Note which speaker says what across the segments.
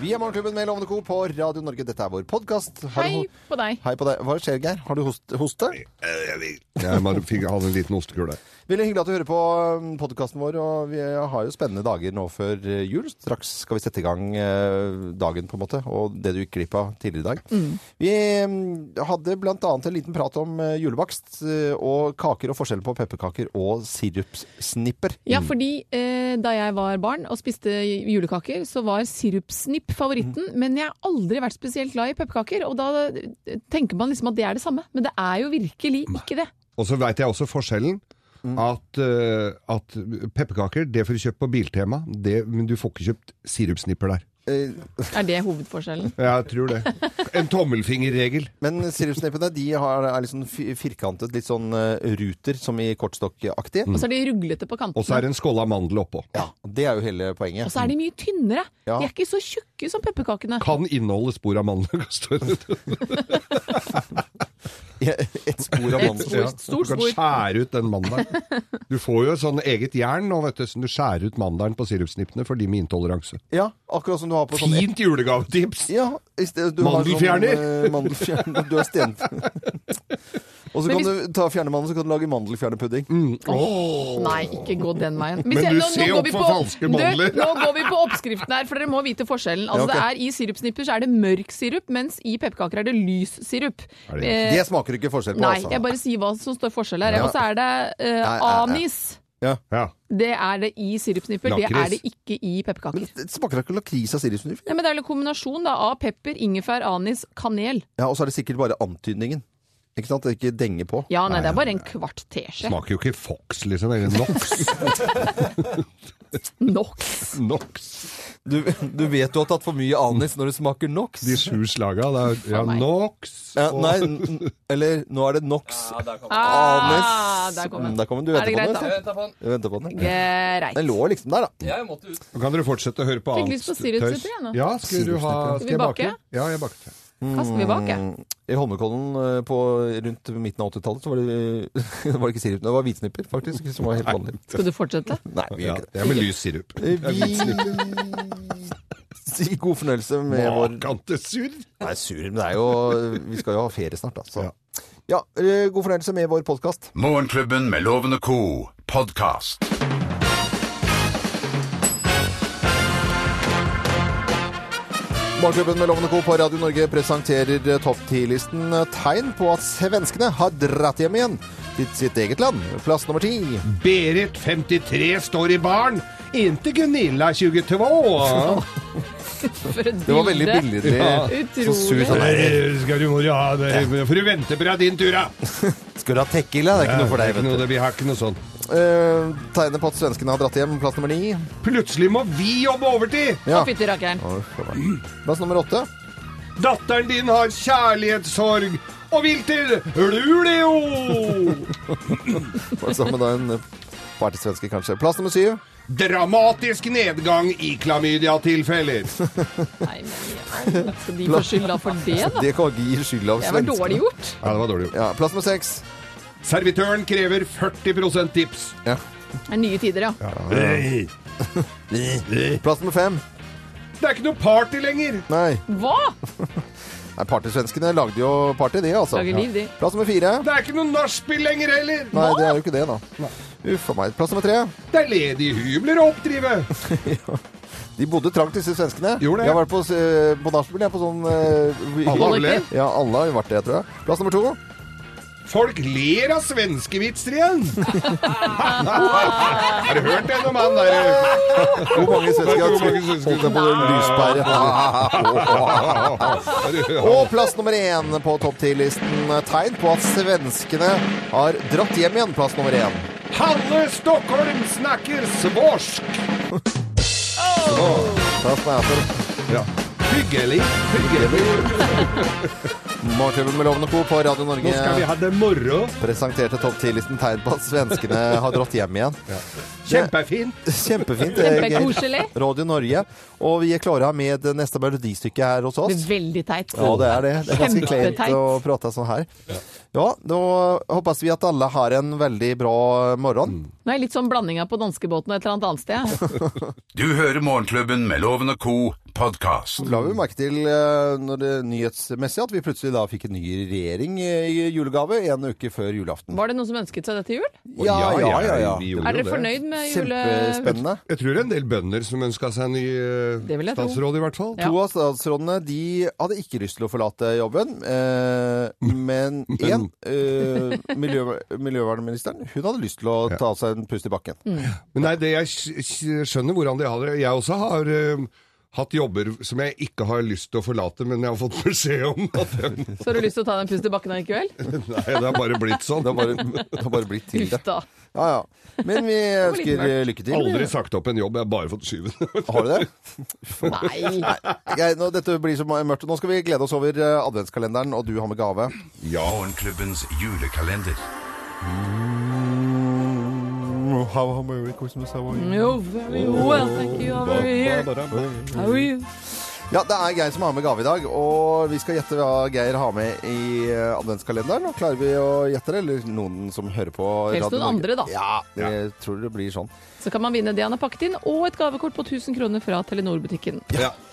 Speaker 1: Vi er Morgenklubben med Lovende Co. på Radio Norge. Dette er vår podkast.
Speaker 2: Hei på deg.
Speaker 1: Hei på deg. Hva skjer, Geir? Har du host hoste?
Speaker 3: Jeg bare fikk, hadde en liten ostekule.
Speaker 1: Veldig hyggelig at du hører på podkasten vår, og vi har jo spennende dager nå før uh, jul. Straks skal vi sette i gang eh, dagen, på en måte, og det du gikk glipp av tidligere i dag. Vi mm, hadde blant annet en liten prat om eh, julebakst eh, og kaker, og forskjellen på pepperkaker og sirupssnipper.
Speaker 2: Ja, fordi eh, da jeg var barn og spiste julekaker, så var sirupsnipp favoritten.
Speaker 3: Mm.
Speaker 2: Men jeg har aldri vært spesielt glad i pepperkaker, og da eh, tenker man liksom at det er det samme. Men det er jo virkelig ikke det.
Speaker 3: Og så veit jeg også forskjellen. At, eh, at pepperkaker, det får du kjøpt på Biltema, det, men du får ikke kjøpt sirupsnipper der.
Speaker 1: Eh,
Speaker 2: Er det hovedforskjellen?
Speaker 3: Jeg tror det. En tommelfingerregel.
Speaker 1: Men sirupsnippene de har, er liksom fi- firkantet, litt sånn eh, ruter, som i kortstokkaktig.
Speaker 2: Og så er de ruglete på
Speaker 3: Og så
Speaker 2: kantene.
Speaker 3: er det en skål amandel oppå.
Speaker 1: Ja, det er jo hele poenget.
Speaker 2: Og så er de mye tynnere.
Speaker 1: Ja.
Speaker 2: De er ikke så tjukke som pepperkakene.
Speaker 3: Kan inneholde spor av mandel. står det.
Speaker 1: Et spor av
Speaker 2: Et
Speaker 1: mandel.
Speaker 2: spor.
Speaker 3: Ja,
Speaker 2: stort
Speaker 3: Du kan
Speaker 2: spor.
Speaker 3: skjære ut den mandelen. Du får jo sånn eget jern nå, vet du, som du skjærer ut mandelen på sirupsnippene for de med intoleranse.
Speaker 1: Ja, akkurat som du har på sånn
Speaker 3: Fint julegavetips!
Speaker 1: Ja, i sted- du har
Speaker 3: Mandelfjerner.
Speaker 1: Sånn, eh, mandelfjerner. Du har sten... Og så
Speaker 2: Men
Speaker 1: kan du ta fjernemandel, så kan du lage mandelfjernepudding.
Speaker 2: Nei, ikke gå den veien. Hvis
Speaker 3: Men
Speaker 2: jeg-
Speaker 3: du
Speaker 2: nå- nå
Speaker 3: ser
Speaker 2: går
Speaker 3: opp
Speaker 2: vi
Speaker 3: for
Speaker 2: på-
Speaker 3: falske mandler.
Speaker 2: Du, Nå går vi på oppskriften her, for dere må vite forskjellen.
Speaker 1: Ja,
Speaker 2: Altså,
Speaker 1: ok.
Speaker 2: det er, I sirupsnipper så er det mørk sirup, mens i pepperkaker er det lys sirup.
Speaker 3: Er det-
Speaker 2: Eh,
Speaker 1: Det smaker ikke forskjell på,
Speaker 2: Nei,
Speaker 1: altså.
Speaker 2: jeg bare sier hva som står forskjell her.
Speaker 1: Ja.
Speaker 2: Og så er det eh,
Speaker 1: Nei, nei, nei.
Speaker 2: anis.
Speaker 3: Ja.
Speaker 2: Det er det i sirupsnipper. Det
Speaker 3: Lakris.
Speaker 2: er det ikke i pepperkaker.
Speaker 1: Men det smaker da ikke lakris av sirupsnurr?
Speaker 2: Ja, men det er en kombinasjon da, av pepper, ingefær, anis, kanel.
Speaker 1: Ja, og så er det sikkert bare antydningen. Ikke sant? Det er ikke denge på.
Speaker 2: Ja, nei, det er bare en kvart teskje.
Speaker 3: Smaker jo ikke Fox, liksom. Eller Nox.
Speaker 2: Nok.
Speaker 3: Nox.
Speaker 1: Du, du vet du har tatt for mye anis når det smaker NOx.
Speaker 3: De sju slaga. Det er ja,
Speaker 2: Faen meg.
Speaker 3: Nox
Speaker 1: Ja,
Speaker 3: og-
Speaker 1: nei, n- eller nå er det NOx.
Speaker 2: Ah,
Speaker 1: anis.
Speaker 2: der kom
Speaker 1: Mm,
Speaker 2: den.
Speaker 1: Der kom den. Du
Speaker 2: Er det
Speaker 1: venter på
Speaker 2: greit,
Speaker 1: den?
Speaker 2: da?
Speaker 1: vet
Speaker 4: Jeg venter på den.
Speaker 1: du? Du venter på den.
Speaker 2: Greit.
Speaker 1: Den lå liksom der, da.
Speaker 4: Jeg måtte ut.
Speaker 3: Nå kan dere fortsette å høre på
Speaker 2: Fikk lyst
Speaker 3: annet
Speaker 2: på
Speaker 3: tøys.
Speaker 2: sirupsnipper igjen, da.
Speaker 3: Ja, skal du ha
Speaker 2: Skal vi
Speaker 3: Skal jeg bake?
Speaker 2: bake?
Speaker 3: Ja, jeg baker.
Speaker 2: Kaster vi bak, jeg.
Speaker 1: Mm, I Holmenkollen eh, på rundt midten av 80-tallet så var det, det var ikke sirup, det var hvitsnipper, faktisk, som var helt vanlig.
Speaker 2: Skal du fortsette?
Speaker 1: Nei, vi
Speaker 3: Ja,
Speaker 1: gjør ikke det.
Speaker 3: det er med lys sirup.
Speaker 1: Vi sier god fornøyelse med vår
Speaker 3: Makante surr!
Speaker 1: Nei, sur, men det er jo Vi skal jo ha ferie snart, da. Så.
Speaker 3: Ja.
Speaker 1: Ja, eh, god fornøyelse med vår podkast.
Speaker 5: Morgenklubben med Loven og Co. podkast.
Speaker 1: Morgenklubben med Lovende Co. på Radio Norge presenterer eh, topp 10-listen tegn på at svenskene har dratt hjem igjen til sitt eget land. Plass nummer ti.
Speaker 3: Berit, 53, står i baren. Inte Gunilla, 22.
Speaker 2: For et
Speaker 1: Det var veldig
Speaker 2: bilde.
Speaker 1: billig.
Speaker 3: Ja.
Speaker 1: Så sur
Speaker 2: Utrolig.
Speaker 1: sånn der.
Speaker 3: Eh, Skal du, må du ha det? Får du vente på deg din tur, da?
Speaker 1: Skal du ha tequila? Det er ikke noe for
Speaker 3: Det er
Speaker 1: deg,
Speaker 3: ikke noe,
Speaker 1: vet du.
Speaker 3: det- vi har ikke noe sånn. sånt.
Speaker 1: Eh, tegnet på at svenskene har dratt hjem. Plass nummer ni.
Speaker 3: Plutselig må vi jobbe overtid!
Speaker 1: Ja.
Speaker 2: Å, fytti rakkeren.
Speaker 1: Plass nummer åtte.
Speaker 3: Datteren din har kjærlighetssorg og vil til Luleå!
Speaker 1: Var det sammen med da en eh, partysvenske, kanskje. Plass nummer syv.
Speaker 3: Dramatisk nedgang i klamydia-tilfeller.
Speaker 2: Nei, men ja. Skal de få skylda for det, da?
Speaker 1: Det kan ikke gi skyld av
Speaker 2: Det var dårlig
Speaker 1: svenskene.
Speaker 2: gjort.
Speaker 3: Ja, det var dårlig.
Speaker 1: Ja, plass nummer seks.
Speaker 3: Servitøren krever 40 tips.
Speaker 2: Det er nye tider, ja.
Speaker 3: Det
Speaker 1: Plass nummer fem.
Speaker 3: er ikke noe party lenger.
Speaker 1: Nei,
Speaker 2: Hva?
Speaker 1: Nei partysvenskene lagde jo party, de, altså.
Speaker 2: Lager liv, de.
Speaker 1: Plass nummer fire.
Speaker 3: Det er ikke noe nachspiel lenger heller.
Speaker 1: Nei, det er jo ikke det, da. Uff a meg. Plass nummer tre.
Speaker 3: Det er ledige hybler å oppdrive.
Speaker 1: De bodde trangt, disse svenskene.
Speaker 3: Gjorde det.
Speaker 1: Jeg har vært på, eh, på nachspiel, jeg, på sånn eh,
Speaker 3: Alle har
Speaker 2: Kollektiv.
Speaker 3: vel
Speaker 1: Ja, alle har vært det, tror jeg. Plass nummer to.
Speaker 3: Folk ler av svenskevitser igjen. Har du hørt den om han der?
Speaker 1: Hvor mange svensker
Speaker 3: Hvor mange
Speaker 1: har
Speaker 3: svensker-
Speaker 1: holdt deg på den lyspæren? Og plass nummer én på topp ti-listen. Tegn på at svenskene har dratt hjem igjen. Plass nummer én.
Speaker 3: Halve Stockholm snakker svorsk.
Speaker 1: Plass nummer én.
Speaker 3: Ja. Hyggelig.
Speaker 1: Morgenklubben med Loven og Co. på Radio Norge
Speaker 3: Nå skal vi ha det moro.
Speaker 1: presenterte topp 10-listen tegn på at svenskene har dratt hjem igjen.
Speaker 3: Kjempefint!
Speaker 1: Kjempefint. eh,
Speaker 2: Kjempekoselig.
Speaker 1: Geir. Radio Norge. Og vi er klare med det neste melodistykke her hos
Speaker 2: Det
Speaker 1: oss.
Speaker 2: er veldig teit.
Speaker 1: Ja, det er det. Det er ganske
Speaker 2: Kjempeteit.
Speaker 1: kleint å prate sånn her. Ja, da håper vi at alle har en veldig bra morgen.
Speaker 2: Nå er jeg litt sånn blandinga på danskebåten og et eller annet annet sted.
Speaker 5: Du hører Morgenklubben med Loven og Co. podkast.
Speaker 1: La vi merke til eh, når det nyhetsmessig at vi plutselig da fikk en ny regjering eh, i julegave en uke før julaften.
Speaker 2: Var det noen som ønsket seg dette jul?
Speaker 3: Å, vi gjorde
Speaker 2: Er
Speaker 3: jo
Speaker 2: dere
Speaker 3: det.
Speaker 2: fornøyd med jule...
Speaker 1: Kjempespennende.
Speaker 3: Jeg tror det er en del bønder som ønska seg en ny eh,
Speaker 2: Det vil jeg tro.
Speaker 3: statsråd, i hvert fall.
Speaker 2: Ja.
Speaker 1: To av statsrådene de hadde ikke lyst til å forlate jobben, eh, men én, eh, miljø, miljøvernministeren, hun hadde lyst til å ta seg en pust i bakken.
Speaker 2: Mm.
Speaker 3: Men nei, det jeg sk- sk- skjønner hvordan de har det. Jeg også har eh, hatt jobber som jeg ikke har lyst til å forlate, men jeg har fått beskjed om at jeg,
Speaker 2: Så har du lyst til å ta den pust i bakken allikevel?
Speaker 3: Nei, det har bare blitt sånn.
Speaker 1: Det har bare, det har bare blitt til
Speaker 2: Uff
Speaker 1: det.
Speaker 2: da.
Speaker 1: Ja, ja. Men vi
Speaker 2: var litt
Speaker 1: ønsker eh, lykke til.
Speaker 3: Aldri sagt opp en jobb, jeg har bare fått skyve den.
Speaker 1: Har du det?
Speaker 2: Nei.
Speaker 1: Jeg, nå, dette blir så mørkt. Nå skal vi glede oss over eh, adventskalenderen, og du har med gave.
Speaker 5: Morgenklubbens julekalender.
Speaker 2: No, very well, thank you. How are you here? How are you?
Speaker 1: Ja, det er Geir som har med gave i dag, og vi skal gjette hva Geir har med i eh, adventskalenderen. Og klarer vi å gjette det, eller noen som hører på
Speaker 2: Helst
Speaker 1: Radio
Speaker 2: noen andre,
Speaker 1: Norge?
Speaker 2: da.
Speaker 1: Ja, jeg tror det blir sånn.
Speaker 2: Så kan man vinne det han har pakket inn, og et gavekort på 1000 kroner fra Telenor-butikken.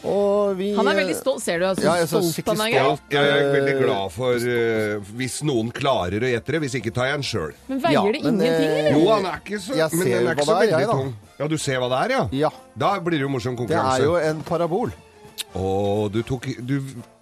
Speaker 1: Og vi
Speaker 2: Han er veldig stolt. Ser du så
Speaker 1: Ja, jeg er så
Speaker 2: stolt han er? Geir?
Speaker 1: skikkelig
Speaker 3: Jeg er veldig glad for eh, hvis noen klarer å gjette det, hvis ikke tar jeg en sjøl.
Speaker 2: Men
Speaker 1: Ja,
Speaker 2: veier det
Speaker 1: men,
Speaker 2: ingenting,
Speaker 1: eh,
Speaker 2: eller?
Speaker 3: Jo, han er ikke så,
Speaker 1: Jeg
Speaker 3: men
Speaker 1: ser jo
Speaker 3: den er
Speaker 1: hva
Speaker 3: ikke
Speaker 1: det
Speaker 3: så
Speaker 1: er, jeg,
Speaker 3: veldig
Speaker 1: da.
Speaker 3: tung. Ja, du ser hva det er, ja?
Speaker 1: Ja.
Speaker 3: Da blir det jo morsom
Speaker 1: Det er
Speaker 3: konkurranse.
Speaker 1: jo en parabol.
Speaker 3: Å, du tok du,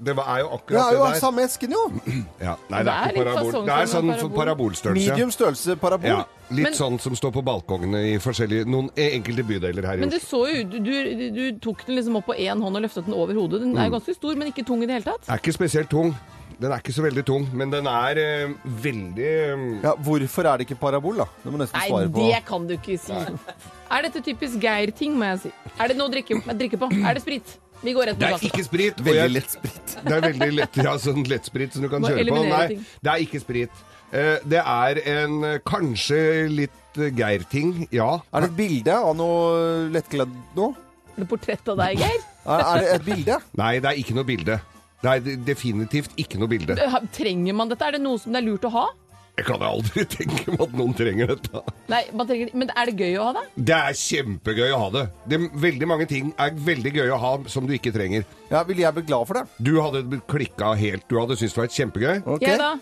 Speaker 3: Det var- er jo
Speaker 1: Det
Speaker 3: akkurat
Speaker 1: er
Speaker 3: det,
Speaker 1: jo
Speaker 3: der.
Speaker 1: samme esken, jo!
Speaker 3: Ja. Nei, det er
Speaker 2: Det er
Speaker 3: ikke
Speaker 2: litt
Speaker 3: parabol.
Speaker 2: fasong
Speaker 3: Det er
Speaker 2: som
Speaker 3: sånn
Speaker 2: en
Speaker 3: for
Speaker 2: parabol.
Speaker 3: parabolstørrelse.
Speaker 1: Medium størrelse parabol.
Speaker 3: Ja, litt
Speaker 2: Men-
Speaker 3: sånn som står på balkongene i forskjellige noen eh, enkelte bydeler her i
Speaker 2: Men det
Speaker 3: Oslo.
Speaker 2: så jo, du, du, du tok den liksom opp på én hånd og løftet den over hodet. Den er
Speaker 1: Mm.
Speaker 2: jo ganske stor, men ikke tung i det hele tatt.
Speaker 3: Den er ikke spesielt tung. Den er ikke så veldig tung, men den er eh, veldig eh,
Speaker 1: Ja, hvorfor er det ikke parabol, da? Det må nesten
Speaker 2: Nei,
Speaker 1: svare på.
Speaker 2: det kan du ikke si. Er dette typisk Geir-ting, må jeg si. Er det noe å drikke, drikke på? Er det sprit? Vi går rett
Speaker 3: Det
Speaker 2: på
Speaker 3: er
Speaker 2: sak.
Speaker 3: ikke sprit. og jeg-
Speaker 1: Veldig lett sprit.
Speaker 3: Det er veldig lett, ja, sånn lettsprit som du kan
Speaker 2: Må
Speaker 3: kjøre på.
Speaker 2: eliminere
Speaker 3: Nei,
Speaker 2: ting.
Speaker 3: det er ikke sprit. Eh, Det er en eh, kanskje litt eh, Geir-ting, ja.
Speaker 1: Er det et bilde av noe lettkledd noe?
Speaker 2: Er det portrett av deg, Geir?
Speaker 1: Er, er det et bilde?
Speaker 3: Nei, det er ikke noe bilde. Det er de- definitivt ikke noe bilde.
Speaker 2: Ha- Trenger man dette? Er det noe som det er lurt å ha?
Speaker 3: Jeg kan aldri tenke meg at noen trenger dette.
Speaker 2: Nei, man trenger, men er det gøy å ha det?
Speaker 3: Det er kjempegøy å ha det. det. Veldig mange ting er veldig gøy å ha som du ikke trenger.
Speaker 1: Ja, Ville jeg blitt glad for det?
Speaker 3: Du hadde klikka helt. Du hadde syntes det var kjempegøy.
Speaker 1: Ok.
Speaker 2: Jeg da?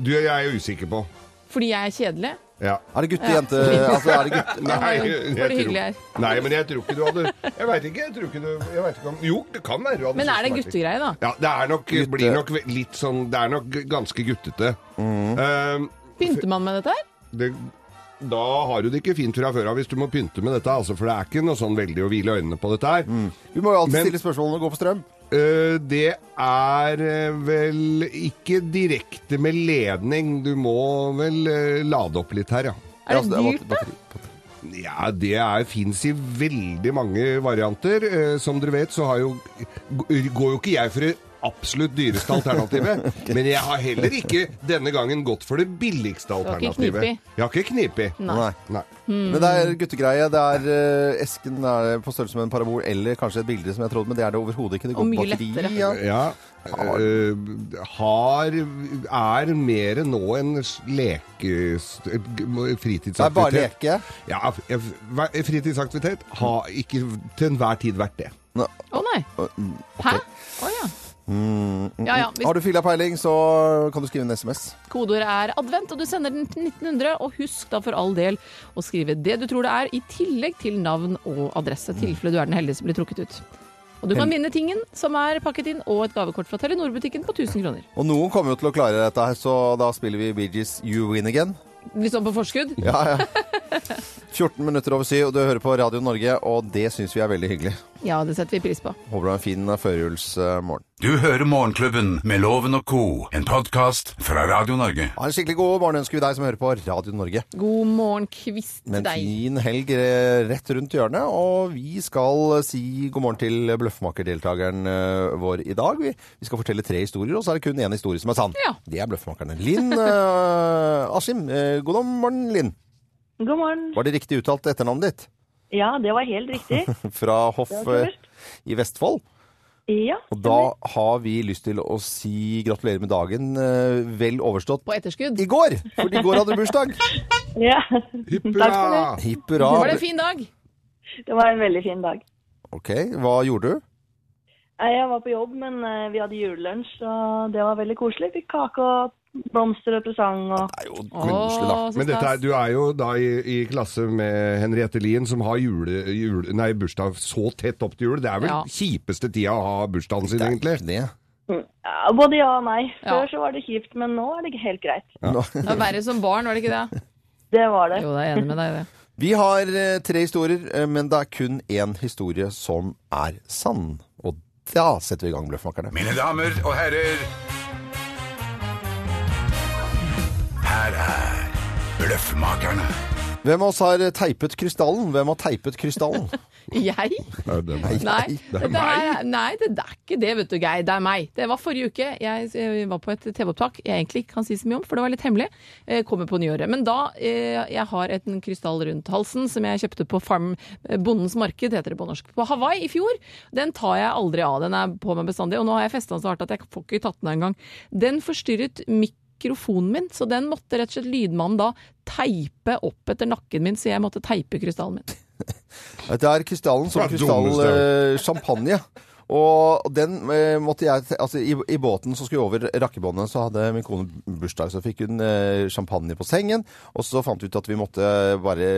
Speaker 3: Du jeg er jeg usikker på.
Speaker 2: Fordi jeg er kjedelig?
Speaker 3: Ja.
Speaker 1: Er det gutte-jente Altså, er det gutte...
Speaker 3: Nei,
Speaker 2: Var det hyggelig her?
Speaker 3: tror, nei, men jeg tror ikke du hadde Jeg veit ikke. Jeg tror ikke du jeg vet ikke om, Jo, det kan være. du hadde
Speaker 2: Men
Speaker 3: syntes
Speaker 2: er det en
Speaker 3: var litt-
Speaker 2: guttegreie, da?
Speaker 3: Ja, det er nok, blir nok ve- litt sånn Det er nok ganske guttete. Eh,
Speaker 2: Pynter man med dette her?
Speaker 3: det, da har du det ikke fint fra før av hvis du må pynte med dette, altså, for det er ikke noe sånn veldig å hvile øynene på dette her.
Speaker 1: Vi må jo alltid
Speaker 3: Men-
Speaker 1: stille spørsmål når det går på strøm.
Speaker 3: Eh, det er eh, vel ikke direkte med ledning. Du må vel eh, lade opp litt her, ja.
Speaker 2: Er
Speaker 1: altså,
Speaker 2: det
Speaker 1: er
Speaker 2: dyrt, da?
Speaker 1: batteri- batteri.
Speaker 3: Ja, det er- fins i veldig mange varianter. Eh, som dere vet, så har jo, g- går jo ikke jeg for det absolutt dyreste alternativet. Men jeg har heller ikke denne gangen gått for det billigste
Speaker 2: har ikke Mm.
Speaker 3: alternativet.
Speaker 2: knipig.
Speaker 3: Jeg har ikke knipig.
Speaker 2: Nei. Hmm.
Speaker 1: Nei.
Speaker 3: Nei.
Speaker 1: Men det er guttegreie. Det er eh, esken er på størrelse med en parabol eller kanskje et bilde som jeg trodde, men det er det overhodet ikke. Det
Speaker 2: Og
Speaker 1: går på
Speaker 2: mye
Speaker 1: batteri.
Speaker 2: lettere.
Speaker 1: Ja.
Speaker 3: Ja. eh, har er mer nå en s- leke... st- g- fritidsaktivitet.
Speaker 1: Det er bare leke.
Speaker 3: Ja, f- f- hver- fritidsaktivitet har ikke til enhver tid vært det.
Speaker 1: Nå, mm,
Speaker 2: Å nei. Hæ? Å ja. Ja ja. Hvis
Speaker 1: Har du fylla peiling, så kan du skrive en SMS.
Speaker 2: kodeordet er advent, og du sender den til 1900, og husk da for all del å skrive det du tror det er, i tillegg til navn og adresse. Tilfelle du er den heldige som blir trukket ut. Og du kan vinne tingen som er pakket inn, og et gavekort fra Telenor-butikken på 1000 kroner.
Speaker 1: Og noen kommer jo til å klare dette her, så da spiller vi Bee Gees You Win Again.
Speaker 2: Litt sånn på forskudd.
Speaker 1: Ja, ja. 14 minutter over syv, og du hører på Radio Norge, og det syns vi er veldig hyggelig.
Speaker 2: Ja, det setter vi pris på.
Speaker 1: Håper du har en fin eh, førjulsmorgen.
Speaker 5: Du hører Morgenklubben med Loven og Co., en podkast fra Radio Norge.
Speaker 1: Ha en skikkelig god morgen ønsker vi deg som hører på Radio Norge.
Speaker 2: God morgen, kvist
Speaker 1: Med en
Speaker 2: deg.
Speaker 1: fin helg eh, rett rundt hjørnet, og vi skal eh, si god morgen til bløffmakerdeltakeren eh, vår i dag. Vi, vi skal fortelle tre historier, og så er det kun én historie som er sann.
Speaker 2: Ja.
Speaker 1: Det er bløffmakerne. Linn eh, Askim. eh, God morgen, Linn.
Speaker 4: God morgen.
Speaker 1: Var det riktig uttalt etternavnet ditt?
Speaker 4: Ja, det var helt riktig.
Speaker 1: Fra Hoff
Speaker 4: Det var
Speaker 1: eh,
Speaker 4: kult.
Speaker 1: i Vestfold.
Speaker 4: Ja.
Speaker 1: Og da har vi lyst til å si gratulerer med dagen, eh, vel overstått,
Speaker 2: På etterskudd.
Speaker 1: i går! For i går hadde du bursdag.
Speaker 4: ja.
Speaker 3: Hipp
Speaker 4: Takk for
Speaker 3: hurra!
Speaker 1: Hipp hurra.
Speaker 2: Var det en fin dag?
Speaker 4: Det var en veldig fin dag.
Speaker 1: Ok, hva gjorde du?
Speaker 4: Nei, Jeg var på jobb, men eh, vi hadde julelunsj, og det var veldig koselig. Fikk kake og blomster og presang og
Speaker 1: Det er jo
Speaker 2: Å,
Speaker 1: koselig, da.
Speaker 2: så
Speaker 3: Men dette er,
Speaker 2: stas.
Speaker 3: du er jo da i, i klasse med Henriette Lien, som har jule, jule, nei, bursdag så tett opp til jul. Det er vel
Speaker 2: Ja.
Speaker 3: kjipeste tida å ha bursdagen sin,
Speaker 1: Det er
Speaker 3: egentlig.
Speaker 1: ikke det.
Speaker 4: Ja, Både ja og nei.
Speaker 2: Ja.
Speaker 4: Før så var det kjipt, men nå er det helt greit.
Speaker 2: Det var verre som barn, var det ikke det?
Speaker 4: Det var det.
Speaker 2: Jo, jeg er enig med deg i det.
Speaker 1: Vi har eh, tre historier, eh, men det er kun én historie som er sann. Og da setter vi i gang Bløffmakerne.
Speaker 5: Mine damer og herrer Her er Bløffmakerne.
Speaker 1: Hvem av oss har eh, teipet krystallen? Hvem har teipet krystallen?
Speaker 2: Jeg?
Speaker 3: Nei, det er-
Speaker 2: Nei,
Speaker 3: det er
Speaker 2: dette her- nei, det, det er ikke det, vet du, Geir. Det er meg. Det var forrige uke. Jeg, eh, var på et TV-opptak jeg egentlig ikke kan si så mye om, for det var litt hemmelig. Eh, kommer på nyåret. Men da eh, jeg har et en krystall rundt halsen som jeg kjøpte på Farm eh, Bondens Marked, heter det på norsk, på Hawaii i fjor. Den tar jeg aldri av. Den er på meg bestandig. Og nå har jeg festa den så hardt at jeg får ikke tatt den av engang. Den forstyrret mikrofonen min, så den måtte rett og slett lydmannen da teipe opp etter nakken min, så jeg måtte teipe krystallen min.
Speaker 1: Det er krystallen som
Speaker 3: Det er
Speaker 1: krystall
Speaker 3: dummeste
Speaker 1: eh, champagne. Og den eh, måtte jeg te- Altså, i, i båten som skulle over rakkebåndet, så hadde min kone bursdag, så fikk hun eh, champagne på sengen. Og så fant vi ut at vi måtte bare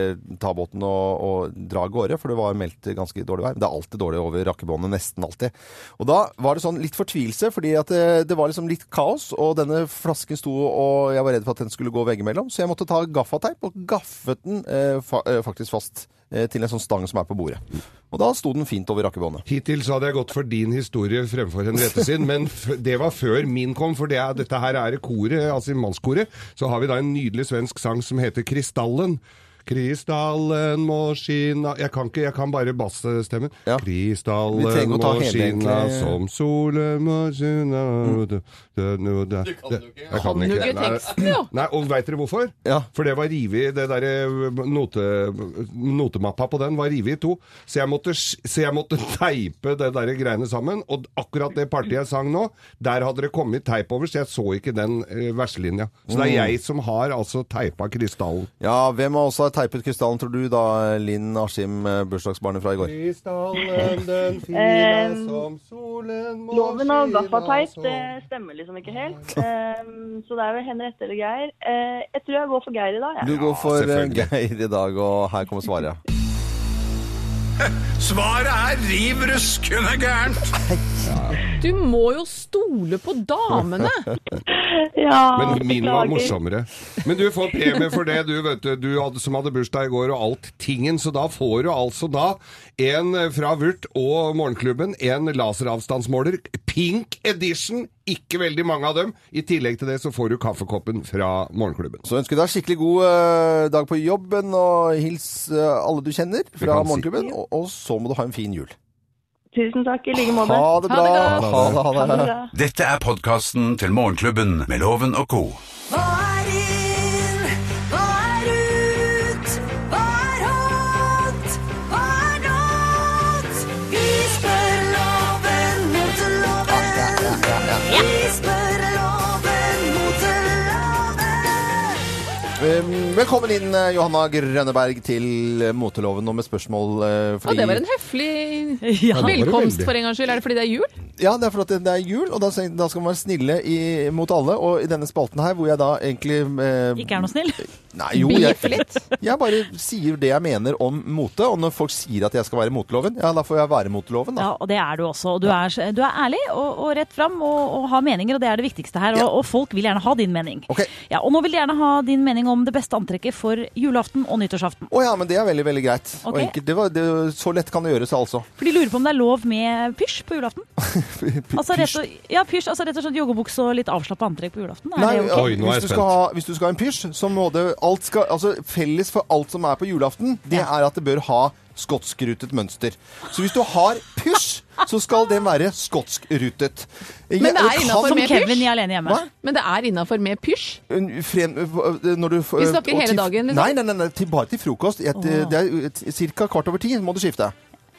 Speaker 1: ta båten og, og dra av gårde, for det var meldt ganske dårlig vær. Det er alltid dårlig over rakkebåndet, nesten alltid. Og da var det sånn litt fortvilelse, fordi at det, det var liksom litt kaos, og denne flasken sto, og jeg var redd for at den skulle gå veggimellom, så jeg måtte ta gaffateip og gaffet den eh, fa eh, faktisk fast eh, til en sånn stang som er på bordet. Og da sto den fint over rakkebåndet.
Speaker 3: Hittil så hadde jeg gått for din historie fremfor Henriette sin, men f det var før min kom, for det er, dette her er koret, altså mannskoret. Så har vi da en nydelig svensk sang som heter Kristallen. Kristallen må skina Jeg kan ikke, jeg kan bare bassstemmen.
Speaker 1: Ja.
Speaker 3: Kristallen
Speaker 1: Vi trenger å ta
Speaker 3: må
Speaker 1: hele,
Speaker 3: skina
Speaker 1: egentlig. Mm.
Speaker 3: som solen må skina Du kan jo ikke. Jeg
Speaker 2: Kan
Speaker 3: kan
Speaker 2: du
Speaker 3: ikke
Speaker 2: ikke teksten, jo?
Speaker 3: Nei, og veit dere hvorfor?
Speaker 1: Ja.
Speaker 3: For det var rivet, det derre note, notemappa på den var rivet i to. Så jeg måtte, sk- så jeg måtte teipe det derre greiene sammen. Og akkurat det partiet jeg sang nå, der hadde det kommet teip over, så jeg så ikke den eh, verselinja. Så det er jeg som har altså teipa krystallen.
Speaker 1: Ja, hvem av oss har teipet krystallen, tror du da, Linn Askim, eh, bursdagsbarnet fra i går?
Speaker 3: Krystallen, den
Speaker 4: fina Em,
Speaker 3: som solen må
Speaker 4: Eh, Loven og gaffateip
Speaker 2: altså.
Speaker 4: det stemmer liksom ikke helt. Ehm, så det er vel Henriette eller Geir. Eh, jeg tror jeg går for Geir i dag,
Speaker 1: Du
Speaker 4: jeg.
Speaker 1: går for eh,
Speaker 3: selvfølgelig.
Speaker 1: Geir i dag, og her kommer svaret.
Speaker 5: Svaret er riv ruskende gærent.
Speaker 2: Du må jo stole på damene!
Speaker 4: Ja,
Speaker 3: Men min var
Speaker 4: beklager.
Speaker 3: morsommere. Men du får premie for det, du, vet du, du hadde, som hadde bursdag i går og alt tingen. Så da får du altså da en eh, fra Vurt og Morgenklubben, en laseravstandsmåler, pink edition, ikke veldig mange av dem. I tillegg til det så får du kaffekoppen fra Morgenklubben.
Speaker 1: Så ønsker vi deg skikkelig god eh, dag på jobben, og hils eh, alle du kjenner fra
Speaker 3: kan si-
Speaker 1: morgenklubben, og, og så må du ha en fin jul.
Speaker 4: Tusen takk i like måte.
Speaker 1: Ha det bra!
Speaker 2: Ha det
Speaker 1: Ha det, ha
Speaker 4: Ha
Speaker 1: det.
Speaker 4: det bra.
Speaker 5: Dette er podkasten til Morgenklubben med Loven og co.
Speaker 6: Hva er inn? Hva er ut? Hva er hot? Hva er not? Vi spør loven mot loven. Vi spør loven mot loven.
Speaker 1: Eh, Velkommen inn, eh, Johanna Grønneberg, til eh, moteloven, og med spørsmål eh,
Speaker 2: Og
Speaker 1: fordi
Speaker 2: det var en høflig
Speaker 3: det var det
Speaker 2: velkomst
Speaker 3: veldig.
Speaker 2: for en gangs skyld. Er det fordi det er jul?
Speaker 1: Ja, det er fordi det er jul, og da, da skal man være snille i, mot alle. Og i denne spalten her, hvor jeg da egentlig eh,
Speaker 7: Ikke er noe snill.
Speaker 1: Nei, jo,
Speaker 2: Beefe
Speaker 1: jeg,
Speaker 2: litt?
Speaker 1: jeg bare sier det jeg mener om mote, og når folk sier at jeg skal være moteloven, ja, da får jeg være moteloven, da.
Speaker 7: Ja, og det er du også. Og du, er, du er ærlig og, og rett fram og, og har meninger, og det er det viktigste her. Og, og folk vil gjerne ha din mening.
Speaker 1: Ok.
Speaker 7: Ja, og nå vil de gjerne ha din mening om det beste antrekket for julaften og nyttårsaften.
Speaker 1: Å ja, men det er veldig, veldig greit. Og
Speaker 7: Ok.
Speaker 1: enkelt. Det var, det, så lett kan det gjøres, altså.
Speaker 7: For de lurer på om det er lov med pysj på julaften. Altså rett og, ja, pysj, altså rett og slett joggebukse og litt avslappa antrekk på julaften. Er det ok?
Speaker 3: Oi, nå er jeg
Speaker 1: hvis, du skal
Speaker 3: spent.
Speaker 1: ha, hvis du skal ha en pysj, så må det alt skal, altså, Felles for alt som er på julaften, det
Speaker 7: Ja.
Speaker 1: er at det bør ha skotskrutet mønster. Så hvis du har pysj, så skal den være skotskrutet. Jeg-
Speaker 2: Men det er
Speaker 1: jeg
Speaker 2: innafor
Speaker 1: kan-
Speaker 2: med
Speaker 7: Kevin i
Speaker 2: pysj.
Speaker 7: Alene hjemme.
Speaker 1: Hva?
Speaker 2: Men det er innafor med pysj.
Speaker 1: Frem, når du,
Speaker 2: Vi snakker
Speaker 1: og
Speaker 2: hele dagen, liksom?
Speaker 1: Nei, nei, nei, nei til, bare til frokost. Jeg, Det er ca. kvart over ti må du skifte.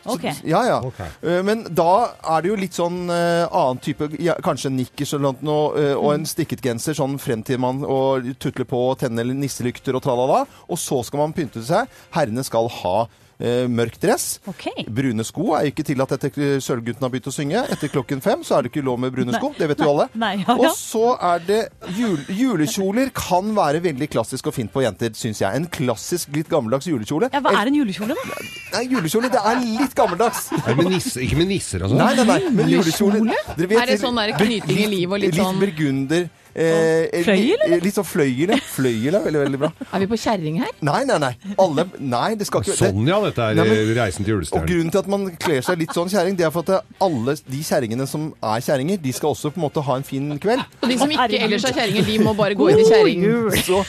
Speaker 1: Så-
Speaker 7: Ok.
Speaker 1: Ja, ja.
Speaker 3: Ok.
Speaker 1: Eh, Men da er det jo litt sånn eh, annen type ja, Kanskje en nikkers eller noe, eh, og
Speaker 7: Mm.
Speaker 1: en strikket genser sånn frem til man og tutler på og tenner eller nisselykter og tralala. Og så skal man pynte seg. Herrene skal ha eh, mørk dress.
Speaker 7: Ok.
Speaker 1: Brune sko er jo ikke tillatt etter eh, Sølvgutten har begynt å synge. Etter klokken fem så er det ikke lov med brune sko. Det vet jo alle.
Speaker 7: Nei, ja, ja.
Speaker 1: Og så er det jul, Julekjoler kan være veldig klassisk og fint på jenter, syns jeg. En klassisk, litt gammeldags julekjole.
Speaker 7: Ja, hva er en julekjole, da?
Speaker 1: Nei, julekjole, det er litt gammeldags.
Speaker 3: Er det med nisser? Ikke med nisser, altså?
Speaker 1: Nei, nei, nei, men julekjole dere vet-
Speaker 2: Er det sånn der knyting i liv og litt sånn-
Speaker 1: Litt burgunder. Eh, eh,
Speaker 7: Fløyel,
Speaker 1: litt- eh, Litt sånn fløyel, ja. Fløyel er veldig, veldig bra.
Speaker 2: Er vi på kjerring her?
Speaker 1: Nei, nei, nei. Alle, nei, det skal ikke
Speaker 3: Sånn,
Speaker 1: det-
Speaker 3: ja, dette er
Speaker 1: Nei, men-
Speaker 3: eh, reisen til
Speaker 1: Og
Speaker 3: julestjernen.
Speaker 1: grunnen til at man kler seg litt sånn kjerring, det er for at alle de kjerringene som er kjerringer, de skal også på en måte ha en fin kveld.
Speaker 2: Og de som ikke
Speaker 7: herregud.
Speaker 2: ellers er kjerringer, de må bare gå inn i kjerring.
Speaker 1: Så,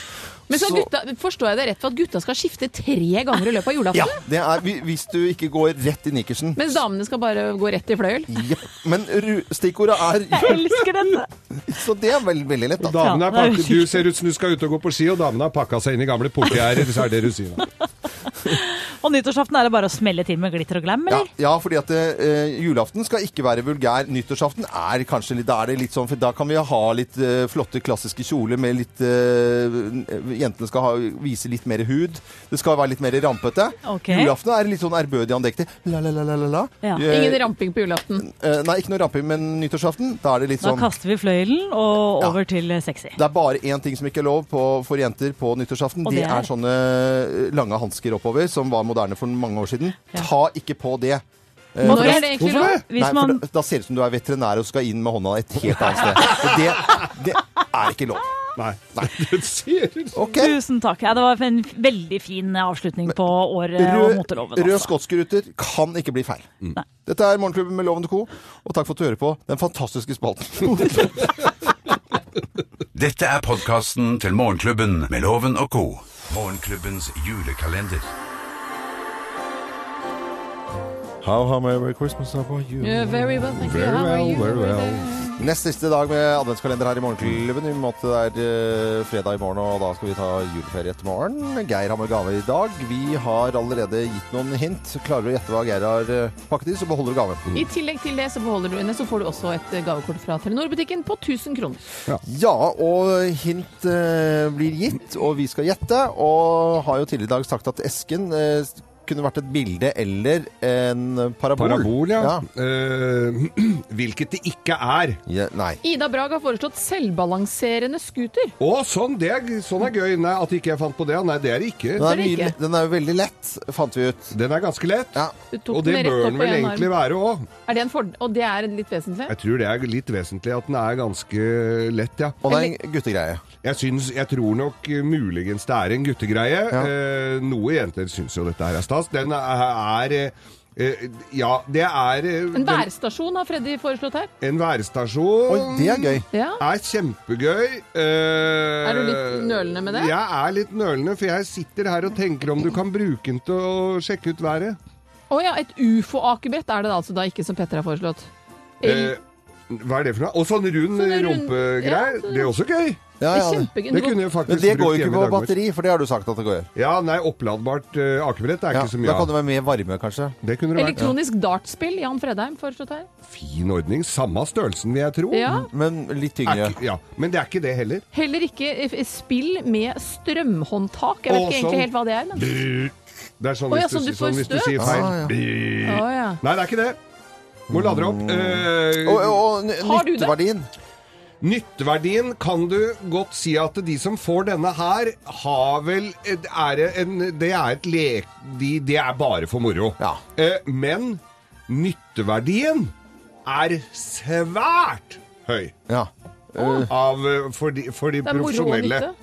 Speaker 2: Men så gutta, forstår jeg det rett for at gutta skal skifte tre ganger i løpet av
Speaker 1: Ja,
Speaker 2: julaften?
Speaker 1: det er hvi- hvis du ikke går rett i nikkersen.
Speaker 2: Mens damene skal bare gå rett i fløyel?
Speaker 1: Jepp. Men ru- stikkordet er
Speaker 7: Jeg elsker denne!
Speaker 1: Så det er vel, veldig lett, da.
Speaker 3: Damene er
Speaker 7: Ja, det er
Speaker 3: pakket, du ser ut som du skal ut og gå på ski, og damene har pakka seg inn i gamle portgjerder. Så er det du sier.
Speaker 7: Og nyttårsaften er det bare å smelle til med glitter og glam,
Speaker 1: Ja,
Speaker 7: eller?
Speaker 1: ja, fordi at eh, julaften skal ikke være vulgær. Nyttårsaften er kanskje litt, da er det litt sånn, for da kan vi ha litt eh, flotte klassiske kjoler med litt eh, Jentene skal ha, vise litt mer hud. Det skal være litt mer rampete.
Speaker 7: Ok.
Speaker 1: Julaften er litt sånn ærbødig andektig. La, la, la, la, la, la.
Speaker 7: Ja.
Speaker 1: Eh,
Speaker 2: Ingen ramping på julaften.
Speaker 1: eh, nei, ikke noe ramping, men nyttårsaften, da er det litt
Speaker 7: Da
Speaker 1: sånn
Speaker 7: kaster vi fløyelen og over til sexy.
Speaker 1: det er bare én ting som ikke er lov på, for jenter på nyttårsaften.
Speaker 7: Og
Speaker 1: Det,
Speaker 7: det er?
Speaker 1: er sånne eh, lange hansker oppover, som var moderne for mange år siden. Ta ikke på det. Eh,
Speaker 2: Når
Speaker 1: for da-
Speaker 2: er det egentlig lov?
Speaker 7: Hvis
Speaker 1: Nei,
Speaker 7: man
Speaker 1: for da, da ser det ut som du er veterinær og skal inn med hånda et helt annet sted. Og det, det er ikke lov.
Speaker 3: Nei. Det ser ut
Speaker 1: Ok.
Speaker 7: Tusen takk. Ja, det var en veldig fin avslutning på året og
Speaker 1: Rød,
Speaker 7: moteloven.
Speaker 1: rød
Speaker 7: altså. Mm.
Speaker 1: skotskeruter kan ikke bli feil. Dette er Morgenklubben med Loven og Co. Og takk for at du hører på den fantastiske spalten.
Speaker 5: Dette er podkasten til Morgenklubben med Loven og co. Morgenklubbens julekalender.
Speaker 1: How, how merry Christmas how are you?
Speaker 2: Yeah, very well, thank you.
Speaker 3: Very
Speaker 2: How are
Speaker 3: well,
Speaker 2: you?
Speaker 3: very well.
Speaker 1: Nest siste dag med adventskalender her i Morgenklubben. I og med at det er eh, fredag i morgen, og da skal vi ta juleferie etter morgen. Geir har med gave i dag. Vi har allerede gitt noen hint. Klarer du å gjette hva Geir har eh, pakket i, så beholder du gaven.
Speaker 2: I tillegg til det så beholder du henne, så får du også et gavekort fra Telenor-butikken på 1000 kroner.
Speaker 1: Ja, og hint eh, blir gitt, og vi skal gjette. Og har jo tidligere i dag sagt at esken eh, kunne vært et bilde eller en parabol.
Speaker 3: Parabol, ja.
Speaker 1: ja.
Speaker 3: Eh, hvilket det ikke er.
Speaker 1: Ja, nei.
Speaker 2: Ida Brag har foreslått selvbalanserende scooter.
Speaker 3: Å, sånn, det er, sånn er gøy. Nei, at ikke jeg fant på det. Nei, det er det
Speaker 1: Den
Speaker 3: ikke.
Speaker 1: er,
Speaker 2: det
Speaker 1: mye,
Speaker 2: ikke.
Speaker 1: den er jo veldig lett, fant vi ut.
Speaker 3: Den er ganske lett.
Speaker 1: Ja.
Speaker 2: Du tok
Speaker 3: Og det
Speaker 2: den rett
Speaker 3: bør
Speaker 2: opp
Speaker 3: den
Speaker 2: på
Speaker 3: vel
Speaker 2: en
Speaker 3: egentlig
Speaker 2: arm.
Speaker 3: være òg.
Speaker 2: Er det en fordel? Og det er litt vesentlig?
Speaker 3: Jeg tror det er litt vesentlig at den er ganske lett, ja.
Speaker 1: Og det er en guttegreie.
Speaker 3: Jeg, syns, jeg tror nok eh, muligens det er en guttegreie. Eh, noe jenter syns jo dette her er stas. Den er, er eh, Ja, det er eh,
Speaker 2: En
Speaker 3: den-
Speaker 2: værstasjon har Freddy foreslått her.
Speaker 3: en værstasjon.
Speaker 1: Oi, det er gøy.
Speaker 2: Ja.
Speaker 3: er kjempegøy. Eh,
Speaker 2: Er du litt nølende med det?
Speaker 3: Jeg er litt nølende, for jeg sitter her og tenker om du kan bruke den til å sjekke ut været.
Speaker 2: Å ja, et ufo-akebrett er det da, altså da ikke som Petter har foreslått.
Speaker 3: Eh, hva er det for noe? Og sånn rund
Speaker 2: Sånn rund-
Speaker 3: rumpegreier.
Speaker 2: ja, sånn-
Speaker 3: det er også gøy.
Speaker 1: Ja, ja, det.
Speaker 3: Det
Speaker 2: Kjempegøy.
Speaker 3: kunne jeg faktisk
Speaker 1: Men det går
Speaker 3: brukt
Speaker 1: jo ikke
Speaker 3: hjemme i
Speaker 1: på
Speaker 3: dag, Morten.
Speaker 1: batteri, for det har du sagt at det går.
Speaker 3: Ja, nei, oppladbart eh, akebrett er
Speaker 1: Ja,
Speaker 3: ikke så
Speaker 1: da
Speaker 3: mye
Speaker 1: kan
Speaker 3: av.
Speaker 1: det være mer varme, kanskje.
Speaker 3: Det kunne det vært.
Speaker 2: Elektronisk dartspill, Jan Fredheim foreslått her.
Speaker 3: Fin ordning. Samme størrelsen, vil jeg tro.
Speaker 2: Ja.
Speaker 1: Men litt
Speaker 3: Er
Speaker 1: tyngre.
Speaker 3: ikke, ja. Men det er ikke det heller.
Speaker 2: Heller ikke eh, f- spill med strømhåndtak. Jeg vet ikke
Speaker 3: Å, sånn.
Speaker 2: egentlig helt hva det er, men
Speaker 3: Det er sånn,
Speaker 2: Å, ja,
Speaker 3: hvis,
Speaker 2: sånn
Speaker 3: du,
Speaker 2: du får
Speaker 3: sånn hvis du
Speaker 2: støt?
Speaker 3: sier feil.
Speaker 1: Ah,
Speaker 2: Å, ja.
Speaker 3: Nei, det er ikke det. Må lade opp. Eh,
Speaker 1: Mm. Og, og n-
Speaker 2: Har du det?
Speaker 1: nytteverdien.
Speaker 3: Nytteverdien kan du godt si at de som får denne her, har vel er det en, Det er et lek... De, det er bare for moro.
Speaker 1: Ja.
Speaker 3: Eh, men nytteverdien er svært høy.
Speaker 1: Ja.
Speaker 3: Av, eh, for, de, for de
Speaker 2: Det er moro og
Speaker 3: profesjonelle.
Speaker 2: nytte.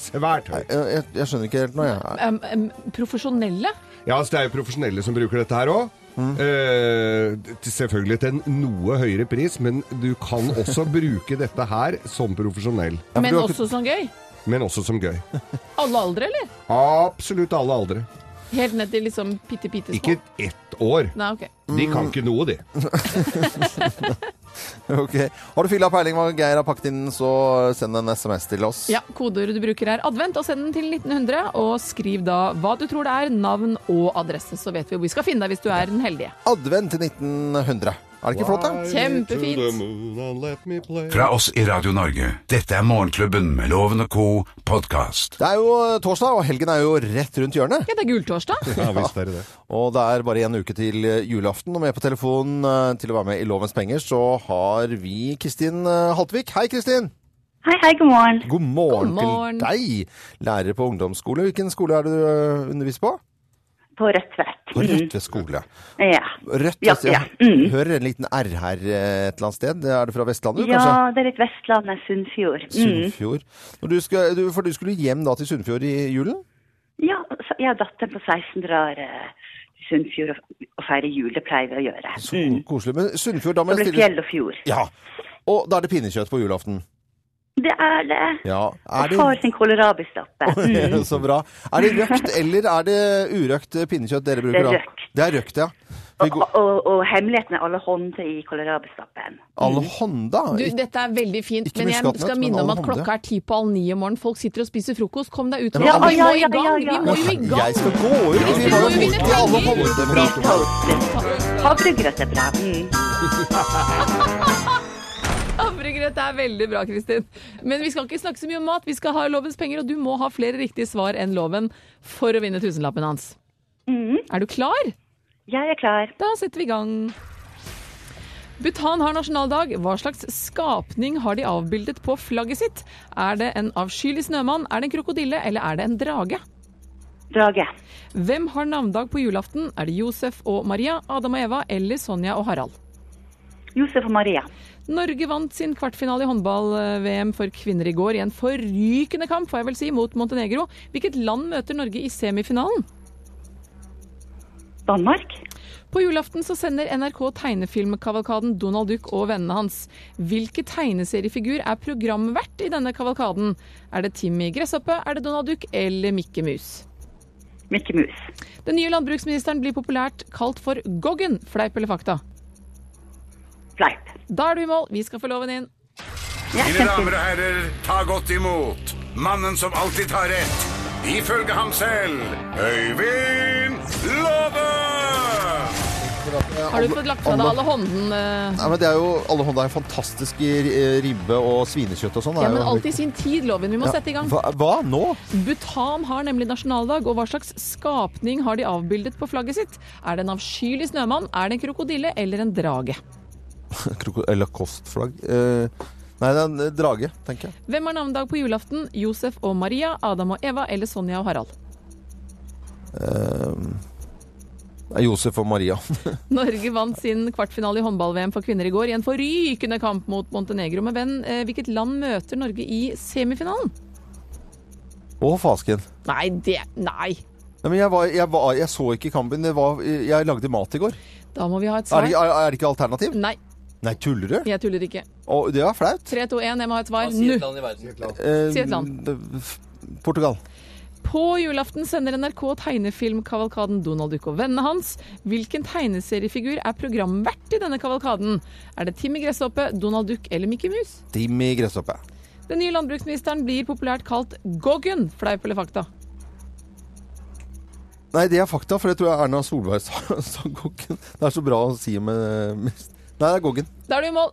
Speaker 3: Svært høy.
Speaker 1: Jeg, jeg- jeg skjønner ikke helt nå, jeg.
Speaker 2: Um, um, profesjonelle?
Speaker 3: Ja, altså Det er jo profesjonelle som bruker dette her òg. selvfølgelig til en noe høyere pris, men du kan også bruke dette her som profesjonell.
Speaker 1: for
Speaker 2: Men
Speaker 1: du har ikke-
Speaker 2: også sånn gøy?
Speaker 3: Men også som gøy.
Speaker 2: Alle aldre, eller?
Speaker 3: Absolutt alle aldre.
Speaker 2: Helt ned til liksom bitte, bitte små?
Speaker 3: Ikke ett år.
Speaker 2: Nei, ok.
Speaker 3: De kan ikke noe, de.
Speaker 1: Ok. Har du fylla peiling hva Geir har pakket inn, så send en SMS til oss.
Speaker 2: Ja, Kodeordet du bruker er advent, og send den til 1900. Og skriv da hva du tror det er, navn og adresse, så vet vi hvor vi skal finne deg hvis du er den heldige.
Speaker 1: Advent til 1900. Er det ikke flott, da?
Speaker 2: Kjempefint.
Speaker 5: Fra oss i Radio Norge. Dette er Morgenklubben med Loven og co. podkast.
Speaker 1: Det er jo eh, torsdag, og helgen er jo rett rundt hjørnet.
Speaker 2: Ja, det er gultorsdag.
Speaker 3: Ja, visst er det det.
Speaker 1: Og det er bare en uke til eh, julaften. Og med på telefonen eh, til å være med i Lovens penger, så har vi Kristin eh, Haltvik. Hei, Kristin!
Speaker 4: Hei, hei, god morgen.
Speaker 1: God morgen,
Speaker 2: God morgen.
Speaker 1: til deg! Lærer på ungdomsskole. Hvilken skole er det du eh, underviser på?
Speaker 4: På rødt vett.
Speaker 1: På Rødtvet skole.
Speaker 4: Ja.
Speaker 1: Rødt,
Speaker 4: Mm. Ja,
Speaker 1: altså, ja.
Speaker 4: ja. Mm.
Speaker 1: Hører en liten R her eh, et eller annet sted. Er det fra Vestlandet, kanskje?
Speaker 4: ja, det er litt Vestlandet, Sunnfjord. Mm.
Speaker 1: Sunnfjord. Når du skal, du, for du skulle hjem da til Sunnfjord i julen?
Speaker 4: Ja, så jeg og datteren på 16 drar eh, til Sunnfjord og, og feirer jul, det pleier vi å gjøre.
Speaker 1: Så koselig. Men Sunnfjord, da må
Speaker 4: Det
Speaker 1: jeg
Speaker 4: blir
Speaker 1: stille
Speaker 4: Mm. fjell og fjord.
Speaker 1: Ja. Og da er det pinnekjøtt på julaften.
Speaker 4: Det er det.
Speaker 1: Ja. Er
Speaker 4: Og far
Speaker 1: det
Speaker 4: sin kålrabistappe. Mm.
Speaker 1: så bra. Er det røkt eller er det urøkt pinnekjøtt dere bruker da?
Speaker 4: Det er røkt.
Speaker 1: Det er røkt, ja. Vi
Speaker 4: Og,
Speaker 1: går,
Speaker 4: og, og hemmeligheten er alle håndter i kålrabistappen.
Speaker 1: alle hånda.
Speaker 2: Du, dette er veldig fint,
Speaker 1: Ikke
Speaker 2: men jeg
Speaker 1: muskatnøtt,
Speaker 2: skal
Speaker 1: men
Speaker 2: minne om at
Speaker 1: aldehomme.
Speaker 2: klokka er ti på halv ni om morgenen. Folk sitter og spiser frokost. Kom deg ut.
Speaker 1: Ja,
Speaker 2: vi
Speaker 4: ja,
Speaker 2: må i
Speaker 4: ja, ja,
Speaker 2: gang! Vi
Speaker 4: ja.
Speaker 2: må jo i
Speaker 1: Jeg
Speaker 2: gang!
Speaker 1: skal gå ut! Vi
Speaker 2: vi
Speaker 1: må
Speaker 2: må
Speaker 1: jo
Speaker 2: jo vinne
Speaker 1: bort i alle
Speaker 2: penger.
Speaker 1: håndene.
Speaker 4: Toastet. Havregrøt er bra. Mm.
Speaker 2: Havregrøt er veldig bra, Kristin. Men vi skal ikke snakke så mye om mat. Vi skal ha lovens penger, og du må ha flere riktige svar enn loven for å vinne tusenlappen hans. Er du klar?
Speaker 4: Jeg er klar.
Speaker 2: Da setter vi i gang. Bhutan har nasjonaldag. Hva slags skapning har de avbildet på flagget sitt? Er det en avskyelig snømann, er det en krokodille, eller er det en drage?
Speaker 4: Drage.
Speaker 2: Hvem har navndag på julaften? Er det Josef og Maria, Adam og Eva eller Sonja og Harald?
Speaker 4: Josef og Maria.
Speaker 2: Norge vant sin kvartfinale i håndball-VM for kvinner i går i en forrykende kamp, får jeg vel si, mot Montenegro. Hvilket land møter Norge i semifinalen?
Speaker 4: Danmark.
Speaker 2: På julaften så sender NRK tegnefilmkavalkaden Donald Duck og vennene hans. Hvilken tegneseriefigur er programvert i denne kavalkaden? Er det Timmy Gresshoppe, er det Donald Duck eller Mikke Mus?
Speaker 4: Mikke Mus.
Speaker 2: Den nye landbruksministeren blir populært kalt for Goggen, fleip eller fakta?
Speaker 4: Fleip.
Speaker 2: Da er du i mål, vi skal få loven inn.
Speaker 4: Ja,
Speaker 5: Mine damer og herrer, ta godt imot mannen som alltid tar rett. Ifølge ham selv Øyvind Låve!
Speaker 2: Har du fått lagt fra deg alle hånden? eh?
Speaker 1: Nei, men det er jo, alle hånda er fantastisk i eh, ribbe og svinekjøtt og sånn.
Speaker 2: Ja,
Speaker 1: er
Speaker 2: men
Speaker 1: jo-
Speaker 2: alltid i sin tid, loven. Vi må
Speaker 1: Ja.
Speaker 2: sette i gang.
Speaker 1: Hva, hva? Nå?
Speaker 2: Bhutan har nemlig nasjonaldag, og hva slags skapning har de avbildet på flagget sitt? Er det en avskyelig snømann, er det en krokodille eller en drage?
Speaker 1: Kroko- Eller kostflagg? Eh, nei, det er en drage, tenker jeg.
Speaker 2: Hvem har navnedag på julaften? Josef og Maria, Adam og Eva eller Sonja og Harald?
Speaker 1: Det er Josef og Maria.
Speaker 2: Norge vant sin kvartfinale i håndball-VM for kvinner i går i en forrykende kamp mot Montenegro. Men venn, eh, hvilket land møter Norge i semifinalen?
Speaker 1: Å, fasken.
Speaker 2: Nei, det Nei!
Speaker 1: Nei, men jeg, var, jeg, var, jeg så ikke kampen. Det var, jeg lagde mat i går.
Speaker 2: Da må vi ha et
Speaker 1: Er det,
Speaker 2: svar.
Speaker 1: ikke- er, er det ikke alternativ?
Speaker 2: Nei,
Speaker 1: Nei, tuller du?
Speaker 2: jeg tuller ikke.
Speaker 1: Å, det var flaut.
Speaker 2: 3, 2, 1, jeg må ha et svar
Speaker 8: Si
Speaker 2: nå.
Speaker 8: et land i verden.
Speaker 1: Eh,
Speaker 2: Si et land.
Speaker 1: d- f- Portugal.
Speaker 2: På julaften sender NRK tegnefilmkavalkaden Donald Duck og vennene hans. Hvilken tegneseriefigur er programvert i denne kavalkaden? Er det Timmy Gresshoppe, Donald Duck eller Mickey Mus?
Speaker 1: Timmy Gresshoppe.
Speaker 2: Den nye landbruksministeren blir populært kalt Goggen, fleip eller fakta?
Speaker 1: Nei, det er fakta, for det tror jeg Erna Solberg sa. sa Goggen. Det er så bra å si med med- Nei, det er Goggen.
Speaker 2: Da er du i mål!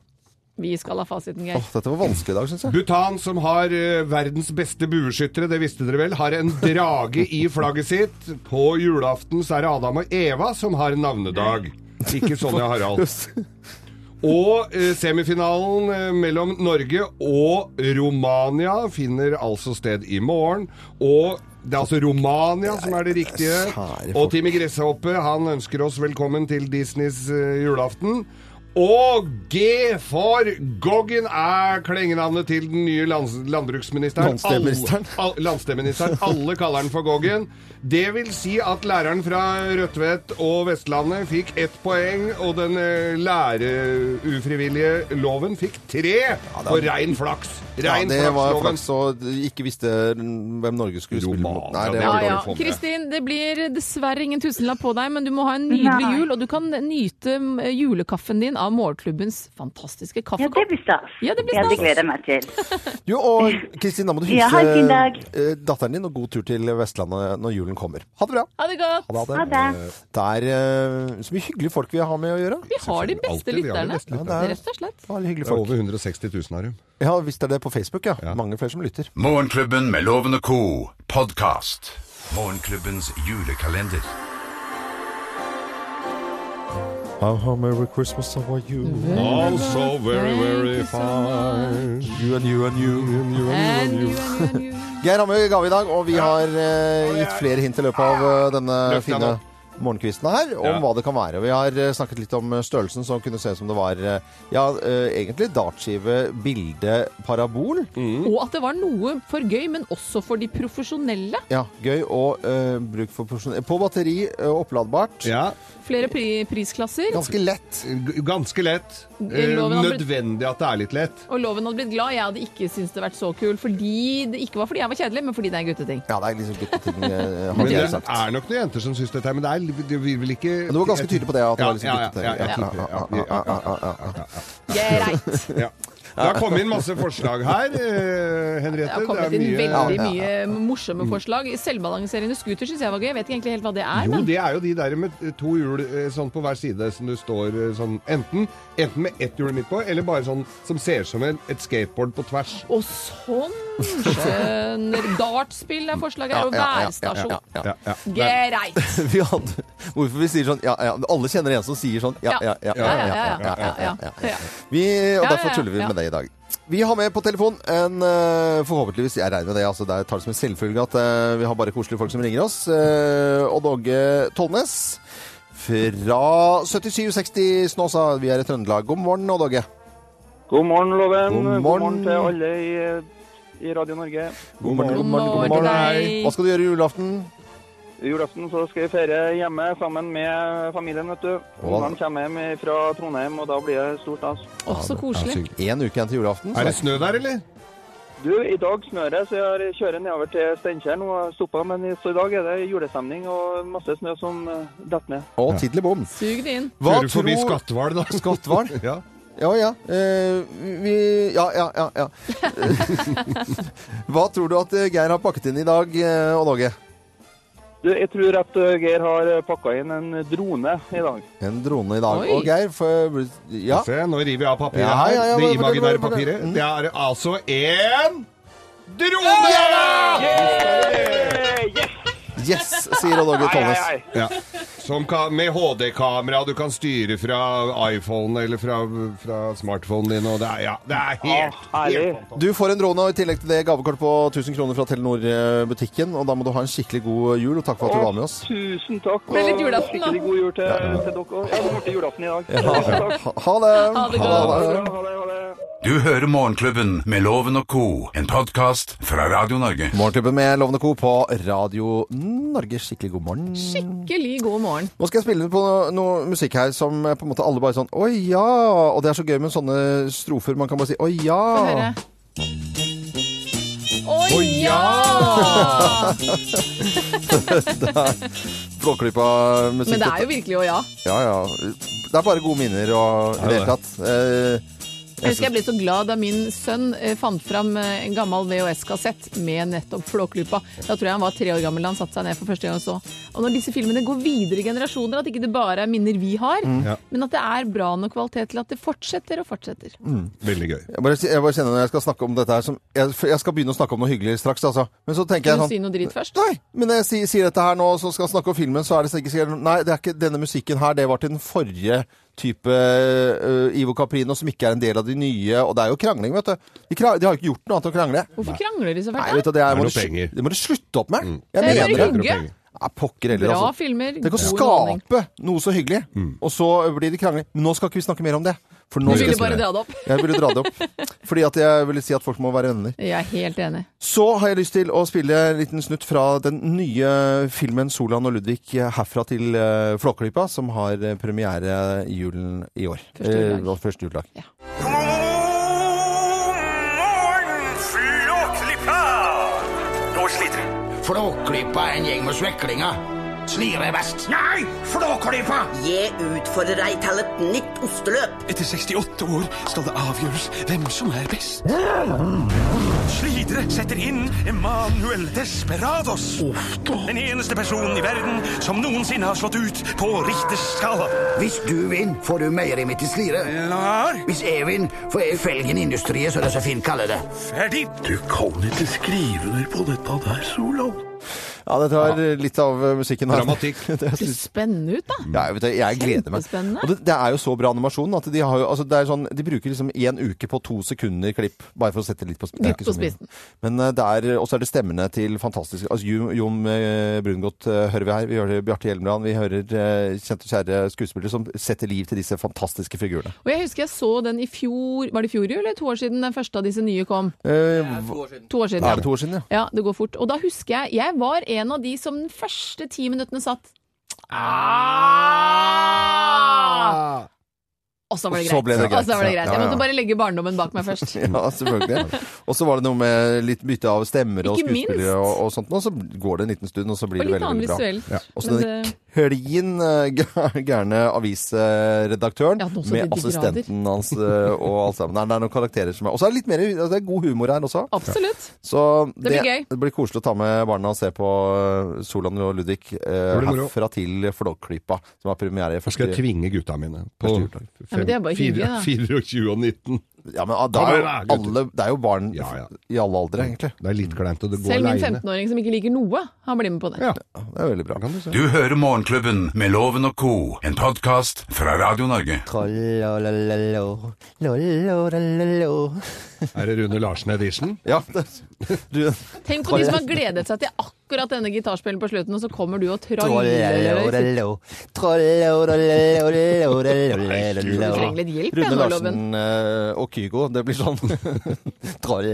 Speaker 2: Vi skal ha fasiten, Geir.
Speaker 1: Åh, dette var vanskelig i dag, syns jeg.
Speaker 3: Bhutan, som har eh, verdens beste bueskyttere, det visste dere vel, har en drage i flagget sitt. På julaften så er det Adam og Eva som har navnedag. Ikke Sonja Harald. Og eh, semifinalen eh, mellom Norge og Romania finner altså sted i morgen. Og det er altså Romania som er det riktige.
Speaker 1: Sære folk.
Speaker 3: Og Timmy Gresshoppe han ønsker oss velkommen til Disneys eh, julaften. Og G for Goggen er klengenavnet til den nye lands landbruksministeren.
Speaker 1: Landsteministeren.
Speaker 3: Alle, al landsteministeren. Alle kaller den for Goggen. Det vil si at læreren fra Rødtvet og Vestlandet fikk ett poeng, og den eh, læreufrivillige loven fikk tre på rein flaks.
Speaker 1: Ja,
Speaker 3: Rein
Speaker 1: det var
Speaker 3: flaksloven.
Speaker 1: flaks og ikke visste hvem Norge skulle spille mot.
Speaker 3: Roman,
Speaker 1: Nei, det
Speaker 3: ja,
Speaker 1: var
Speaker 2: Ja, ja.
Speaker 1: dårlig form.
Speaker 2: Kristin, det blir dessverre ingen tusenlapp på deg, men du må ha en nydelig jul, og du kan nyte mm, julekaffen din av morgenklubbens fantastiske
Speaker 8: Ja, det
Speaker 2: kaffekopp.
Speaker 8: blir stas.
Speaker 2: Ja, det blir
Speaker 8: Ja, det
Speaker 2: stas.
Speaker 8: gleder jeg meg til.
Speaker 1: Jo, og Kristin, da må du
Speaker 8: Ja, ha en fin
Speaker 1: hilse
Speaker 8: dag.
Speaker 1: eh, datteren din, og god tur til Vestlandet når julen kommer. Ha det bra!
Speaker 2: Ha det godt!
Speaker 1: Ha det.
Speaker 8: Ha det.
Speaker 1: Det er eh, så mye hyggelige folk vi har med å gjøre.
Speaker 2: Vi har de beste
Speaker 3: Alltid, vi har de
Speaker 2: lytterne,
Speaker 3: beste lytterne.
Speaker 1: Ja, det er-
Speaker 2: rett og slett.
Speaker 1: Det var hyggelige
Speaker 3: Det er
Speaker 1: folk.
Speaker 3: over 160 000 her.
Speaker 1: Ja, Hvis det er det på Facebook, ja. Mange flere som lytter.
Speaker 5: Morgenklubben med Loven og Co. Podcast. Morgenklubbens julekalender.
Speaker 1: How merry Christmas, how are you?
Speaker 3: Mhm. Also very, very
Speaker 1: You and you and you.
Speaker 2: And you, and you.
Speaker 1: Geir Hamme ga vi i dag, og vi har eh, gitt flere hint i løpet av eh, denne
Speaker 3: Løfta
Speaker 1: fine
Speaker 3: nå.
Speaker 1: morgenkvisten her, om
Speaker 3: Ja.
Speaker 1: hva det kan være. Vi har eh, snakket litt om eh, størrelsen, som kunne se ut som det var eh, ja, eh, egentlig dartskive, bilde, parabol.
Speaker 2: Og at det var noe for gøy, men også for de profesjonelle.
Speaker 1: Ja, gøy og eh, bruk for porsjon... På batteri, eh, oppladbart.
Speaker 3: Ja,
Speaker 2: Flere pri prisklasser.
Speaker 1: Ganske lett.
Speaker 3: g- ganske lett. Eh,
Speaker 2: Loven har blitt-
Speaker 3: Nødvendig at det er litt lett.
Speaker 2: Og loven hadde blitt glad. Jeg hadde ikke syntes det vært så kul. Fordi det ikke var fordi jeg var kjedelig, men fordi det er gutteting.
Speaker 1: Ja, det er liksom gutteting, eh,
Speaker 3: Men
Speaker 1: har
Speaker 3: det
Speaker 1: jeg sagt.
Speaker 3: er nok noen jenter som syns dette, her, men det er li- det vil vel ikke
Speaker 1: Men Du var ganske tydelig på det. at det
Speaker 3: Ja,
Speaker 1: var liksom
Speaker 3: ja, ja,
Speaker 1: gutteting.
Speaker 3: ja, ja, typer, ja, ja, ja, ja,
Speaker 1: ja, ja, ja.
Speaker 2: Greit.
Speaker 3: ja. Det har kommet inn masse forslag her, eh,
Speaker 2: Det
Speaker 3: Henriette.
Speaker 2: har
Speaker 3: Det
Speaker 2: kommet
Speaker 3: er
Speaker 2: inn
Speaker 3: mye
Speaker 2: veldig mye morsomme forslag. Selvbalanserende scooter syns jeg var gøy. Jeg vet ikke egentlig helt hva det er,
Speaker 3: jo,
Speaker 2: men
Speaker 3: det er jo de der med to hjul eh, sånn på hver side som du står eh, sånn enten, enten med ett hjul midt på, eller bare sånn som ser ut som en, et skateboard på tvers.
Speaker 2: Og sånn skjønner Dartspill er forslaget. Og
Speaker 1: Ja, ja, ja, ja,
Speaker 2: værstasjon.
Speaker 1: ja,
Speaker 3: Ja, ja.
Speaker 2: Greit.
Speaker 1: vi hadde, hvorfor vi sier sånn ja, ja, Alle kjenner en som sier sånn ja, ja, ja. ja, ja, ja, ja, ja, ja, ja, ja. Vi, og
Speaker 2: Ja,
Speaker 1: derfor
Speaker 2: ja,
Speaker 1: tuller vi
Speaker 2: ja.
Speaker 1: med det i dag. Vi har med på telefon en eh, Forhåpentligvis, jeg regner med det, altså, det er- tar det som en selvfølge at eh, vi har bare koselige folk som ringer oss. Eh, Odd Åge Tollnes fra 7760 Snåsa. Vi er i Trøndelag. God morgen, Odd Åge.
Speaker 9: God morgen, Loven.
Speaker 1: God morgen.
Speaker 9: God morgen til alle i, i Radio Norge.
Speaker 1: God morgen.
Speaker 2: God morgen til
Speaker 1: Hva
Speaker 2: deg.
Speaker 1: skal du gjøre julaften?
Speaker 9: I julaften så skal jeg feire hjemme sammen med familien, vet du. Ungene kommer hjem fra Trondheim, og da blir det stort stas.
Speaker 2: Å, så koselig.
Speaker 1: Én uke igjen til julaften.
Speaker 3: Er det snø der, eller?
Speaker 9: Du, i dag snør det, så jeg har- kjører nedover til Steinkjer nå og stoppa, men i- så i dag er det julestemning og masse snø som eh, detter ned.
Speaker 1: Og tiddelbom.
Speaker 2: Sug det inn.
Speaker 1: Hva
Speaker 3: Kjører forbi Skatval, da.
Speaker 1: Skatval?
Speaker 3: ja.
Speaker 1: Ja, ja. Eh, vi Ja, ja, ja. ja. Hva tror du at eh, Geir har pakket inn i dag, eh, Odd Åge?
Speaker 9: Du, jeg tror at eh, Geir har pakka inn en drone i dag.
Speaker 1: En drone i dag.
Speaker 2: Oi.
Speaker 1: Og Geir for, Ja.
Speaker 3: Se, nå river jeg av papiret
Speaker 1: Ja,
Speaker 3: her.
Speaker 1: ja, ja,
Speaker 3: det
Speaker 1: bare-
Speaker 3: imaginære
Speaker 1: bare- bare-
Speaker 3: papiret.
Speaker 1: Mm.
Speaker 3: Det er altså en drone!
Speaker 1: Yes, sier Odd Åge Tollnes.
Speaker 9: hei.
Speaker 3: Ja. Som kan, med HD-kamera du kan styre fra iPhone eller fra, fra smartphonen din. Og det, er, ja, det er helt,
Speaker 9: Ah, herlig.
Speaker 3: helt
Speaker 1: Du får en drone og i tillegg til det gavekort på 1000 kroner fra Telenor-butikken. Og da må du ha en skikkelig god eh, jul, og takk for at du var med oss.
Speaker 9: Tusen takk.
Speaker 2: Blir litt
Speaker 9: og
Speaker 2: julaften, da.
Speaker 9: Skikkelig god jul til, til dere òg. Ja, det ble julaften i dag.
Speaker 1: Ha,
Speaker 9: Takk.
Speaker 1: ha det.
Speaker 2: Ha det
Speaker 9: Ha
Speaker 2: godt.
Speaker 9: det, ha det, ha det.
Speaker 5: Du hører Morgenklubben med Loven og Co. En podcast fra Radio Norge.
Speaker 1: Morgenklubben med Lovende Co. på Radio Norge. Skikkelig god morgen.
Speaker 2: Skikkelig god morgen.
Speaker 1: Nå skal jeg spille på noe, noe musikk her som eh, på en måte alle bare sånn Å ja! Og det er så gøy med sånne strofer. Man kan bare si Å ja!
Speaker 2: Få høre. Å ja!
Speaker 1: Flåklypa musikk.
Speaker 2: Men det er jo virkelig å ja.
Speaker 1: Ja, ja. Det er bare gode minner og i det hele tatt. Eh,
Speaker 2: Jeg husker jeg ble så glad da min sønn eh, fant fram eh, en gammel VHS-kassett med nettopp Flåklypa. Da tror jeg han var tre år gammel da han satte seg ned for første gang og så. Og når disse filmene går videre i generasjoner, at ikke det bare er minner vi har,
Speaker 1: Mm.
Speaker 2: men at det er bra nok kvalitet til at det fortsetter og fortsetter.
Speaker 1: Mm.
Speaker 3: Veldig gøy.
Speaker 1: jeg, bare, jeg bare kjenner når jeg skal snakke om dette her som jeg, for jeg skal begynne å snakke om noe hyggelig straks, altså. Men så tenker
Speaker 2: Kan
Speaker 1: jeg
Speaker 2: du si
Speaker 1: sånn
Speaker 2: noe dritt først?
Speaker 1: Nei, men når jeg sier, sier dette her nå, så skal jeg snakke om filmen, så er det sikkert sikkert Nei, det er ikke denne musikken her, det var til den forrige type eh, Ivo Caprino, som ikke er en del av de nye, og det er jo krangling, vet du. De, krang, de har jo ikke gjort noe annet enn å krangle.
Speaker 2: Hvorfor krangler de så
Speaker 1: Nei,
Speaker 2: fælt?
Speaker 1: vet du, det, er,
Speaker 3: Det er
Speaker 1: må
Speaker 3: noe
Speaker 1: du, slu-
Speaker 3: penger.
Speaker 1: det må du slutte opp med.
Speaker 2: Det
Speaker 1: Jeg
Speaker 2: er
Speaker 1: mener det.
Speaker 2: rygge.
Speaker 3: penger.
Speaker 1: Ja, pokker heller,
Speaker 2: Bra
Speaker 1: altså.
Speaker 2: filmer.
Speaker 1: Tenk å
Speaker 2: god underholdning.
Speaker 1: skape noe så hyggelig, og så blir det krangling. Men nå skal ikke vi snakke mer om det. For
Speaker 2: Du
Speaker 1: nå skal
Speaker 2: ville
Speaker 1: jeg
Speaker 2: bare
Speaker 1: si-
Speaker 2: dra det opp.
Speaker 1: Jeg ville dra det opp. Fordi at jeg ville si at folk må være venner.
Speaker 2: Jeg er helt enig.
Speaker 1: Så har jeg lyst til å spille en liten snutt fra den nye filmen 'Solan og Ludvig herfra til eh, Flåklypa', som har eh, premiere i julen i år.
Speaker 2: Første juledag.
Speaker 1: Eh, vår første juledag.
Speaker 5: Flåklypa er en gjeng med sveklinger. Slire best. Nei, Flåklypa!
Speaker 6: Jeg utfordrer deg til et nytt osteløp.
Speaker 8: Etter 68 år skal det avgjøres hvem som er best. Slidere setter inn Emanuel Desperados. Den eneste personen i verden som noensinne har slått ut på Richters skala.
Speaker 10: Hvis du vinner, får du meieriet mitt i slire.
Speaker 8: Klar,
Speaker 10: Hvis jeg vinner, får jeg Felgen Industrier, som det så fint kaller det.
Speaker 8: ferdig.
Speaker 1: Ja, dette var eh, litt av eh, musikken her.
Speaker 3: Dramatikk.
Speaker 1: Det er
Speaker 2: Det ser spennende ut, da.
Speaker 1: Ja, jeg, vet, det, jeg gleder meg.
Speaker 2: Kjempespennende.
Speaker 1: Og det, det er jo så bra animasjon at de, har jo, altså, det er sånn, de bruker liksom én uke på to sekunder klipp. Bare for å sette det litt på, sp- det er
Speaker 2: Litt
Speaker 1: ikke
Speaker 2: på
Speaker 1: så mye.
Speaker 2: spissen.
Speaker 1: Men eh, det er, også er det stemmene til fantastiske altså, Jon- Jon eh, Brungot eh, hører vi her. Vi hører Bjarte Hjelmeland. Vi hører eh, kjente og kjære skuespillere som setter liv til disse fantastiske figurene.
Speaker 2: Og jeg husker jeg så den i fjor, var det i fjor eller to år siden den første av disse nye kom?
Speaker 1: Eh, hva-
Speaker 2: To år siden,
Speaker 1: er det
Speaker 2: ja.
Speaker 1: to år siden, ja?
Speaker 2: Ja, det går fort. Og da husker jeg, jeg var en av de som den første ti minuttene satt ah! Og så var det greit.
Speaker 1: Og så ble det greit.
Speaker 2: Og så var det greit.
Speaker 1: Ja,
Speaker 2: Jeg
Speaker 1: ja.
Speaker 2: måtte bare legge barndommen bak meg først.
Speaker 1: Ja, selvfølgelig. Og så var det noe med litt bytte av stemmer og
Speaker 2: Ikke minst.
Speaker 1: skuespillere og, og sånt, og så går det en liten stund, og så blir
Speaker 2: Og
Speaker 1: det
Speaker 2: litt
Speaker 1: veldig,
Speaker 2: annen
Speaker 1: veldig bra.
Speaker 2: visuelt.
Speaker 1: Ja. Og så
Speaker 2: Men eh,
Speaker 1: den
Speaker 2: det-
Speaker 1: klin eh, gæ- gærne avisredaktøren
Speaker 2: Ja, nå så de
Speaker 1: med
Speaker 2: de
Speaker 1: assistenten hans eh, og alt sammen. Nei, Det er noen karakterer som er Og så er det litt mer altså, det er god humor her også.
Speaker 2: Absolutt.
Speaker 1: Så
Speaker 2: Det blir gøy.
Speaker 1: det blir koselig å ta med barna og se på eh, Solan og Ludvig eh,
Speaker 3: blir moro.
Speaker 1: herfra til Flåklypa, som har premiere i
Speaker 3: Da skal
Speaker 1: første
Speaker 3: jeg tvinge gutta mine på
Speaker 1: Første juledag.
Speaker 2: Ja, men det er bare hyggelig, da.
Speaker 3: 24 og 19.
Speaker 1: Ja, men ah, det er jo
Speaker 3: Ja, men, gutter.
Speaker 1: alle Det er jo barn
Speaker 3: Ja, ja.
Speaker 1: i alle aldre, egentlig.
Speaker 3: Det er litt kleint å gå
Speaker 2: Selv min
Speaker 3: aleine.
Speaker 2: 15-åring som ikke liker noe, han blir med på det.
Speaker 3: Ja,
Speaker 1: Det er veldig bra.
Speaker 3: kan du se.
Speaker 5: Du hører Morgenklubben med Loven og co., en podkast fra Radio Norge.
Speaker 11: Trollolololo, lolololo.
Speaker 3: Er det Rune Larsen-edition?
Speaker 1: Ja, det, du,
Speaker 2: Tenk på de som har gledet seg til akkurat denne gitarspillen på slutten, og så kommer du og traller.
Speaker 11: Trollolololo, trollololololololololo.
Speaker 2: Du trenger litt hjelp, jeg
Speaker 1: Rune
Speaker 2: nå, Loven.
Speaker 1: Larsen eh, og Kygo, det blir sånn Troll.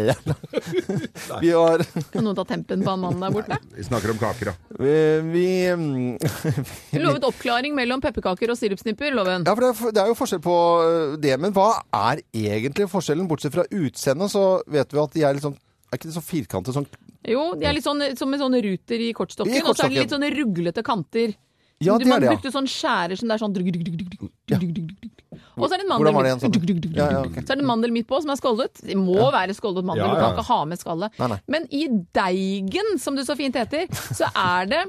Speaker 1: vi har
Speaker 2: Kan noen ta tempen på han mannen der borte?
Speaker 3: Vi snakker om kaker, da.
Speaker 1: Vi, vi mm,
Speaker 2: Du lovet oppklaring mellom pepperkaker og sirupsnipper, Loven.
Speaker 1: Ja, for det er, det er jo forskjell på eh, det, men hva er egentlig forskjellen? Bortsett fra utseendet, så vet vi at de er litt sånn Er ikke det så firkantet sånn
Speaker 2: Jo, de er litt sånn som en sånn ruter i kortstokken,
Speaker 1: I
Speaker 2: og så er det litt
Speaker 1: kortstokken.
Speaker 2: sånne ruglete kanter.
Speaker 1: Ja,
Speaker 2: Du-
Speaker 1: det
Speaker 2: Man
Speaker 1: er det, ja.
Speaker 2: brukte sånn skjærer som det er sånn drug, drug, drug, drug, drug, drug, drug, drug. Og så er det en mandel
Speaker 1: Hvordan var det igjen,
Speaker 2: midt-
Speaker 1: Sanne?
Speaker 2: drug, drug, drug,
Speaker 1: Ja, ja,
Speaker 2: drug.
Speaker 1: ok.
Speaker 2: Så er det en mandel midt på som er skållet. Det må være skållet mandel,
Speaker 3: Ja,
Speaker 2: du
Speaker 3: ja,
Speaker 2: kan ikke ha med skallet.
Speaker 1: Nei, nei.
Speaker 2: Men i deigen, som det så fint heter, så er det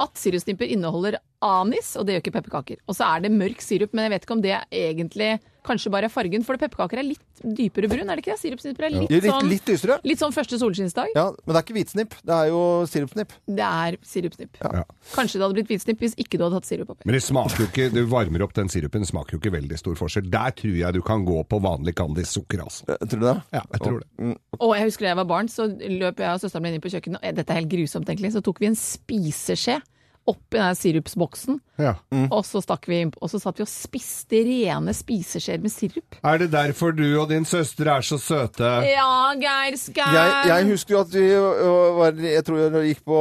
Speaker 2: at sirupsnipper inneholder anis, og det gjør ikke pepperkaker. Og så er det mørk sirup, men jeg vet ikke om det er egentlig kanskje bare er fargen, for pepperkaker er litt dypere brun, er det ikke det? Sirupsnipper er litt
Speaker 1: Litt,
Speaker 2: sånn
Speaker 1: litt lysere.
Speaker 2: Litt sånn første solskinnsdag.
Speaker 1: Ja, men det er ikke hvitsnipp, det er jo sirupsnipp.
Speaker 2: Det er sirupsnipp.
Speaker 3: Ja.
Speaker 2: Kanskje det hadde blitt hvitsnipp hvis ikke du hadde hatt sirup oppi.
Speaker 3: Men det smaker jo ikke, du varmer opp den sirupen, det smaker jo ikke veldig stor forskjell. Der tror jeg du kan gå på vanlig Candis-sukker, altså.
Speaker 1: Eh, Tror du det?
Speaker 3: Ja, jeg tror det.
Speaker 2: Og jeg husker da jeg var barn, så løp jeg og søsteren min inn på kjøkkenet, og eh, dette er helt grusomt egentlig, så tok vi en spiseskje oppi den her sirupsboksen,
Speaker 3: Ja.
Speaker 1: Mm.
Speaker 2: og så stakk vi inn, og så satt vi og spiste rene spiseskjeer med sirup.
Speaker 3: Er det derfor du og din søster er så søte?
Speaker 2: Ja, Geir Skau!
Speaker 1: Jeg, jeg husker jo at vi ø, var, jeg tror jeg gikk på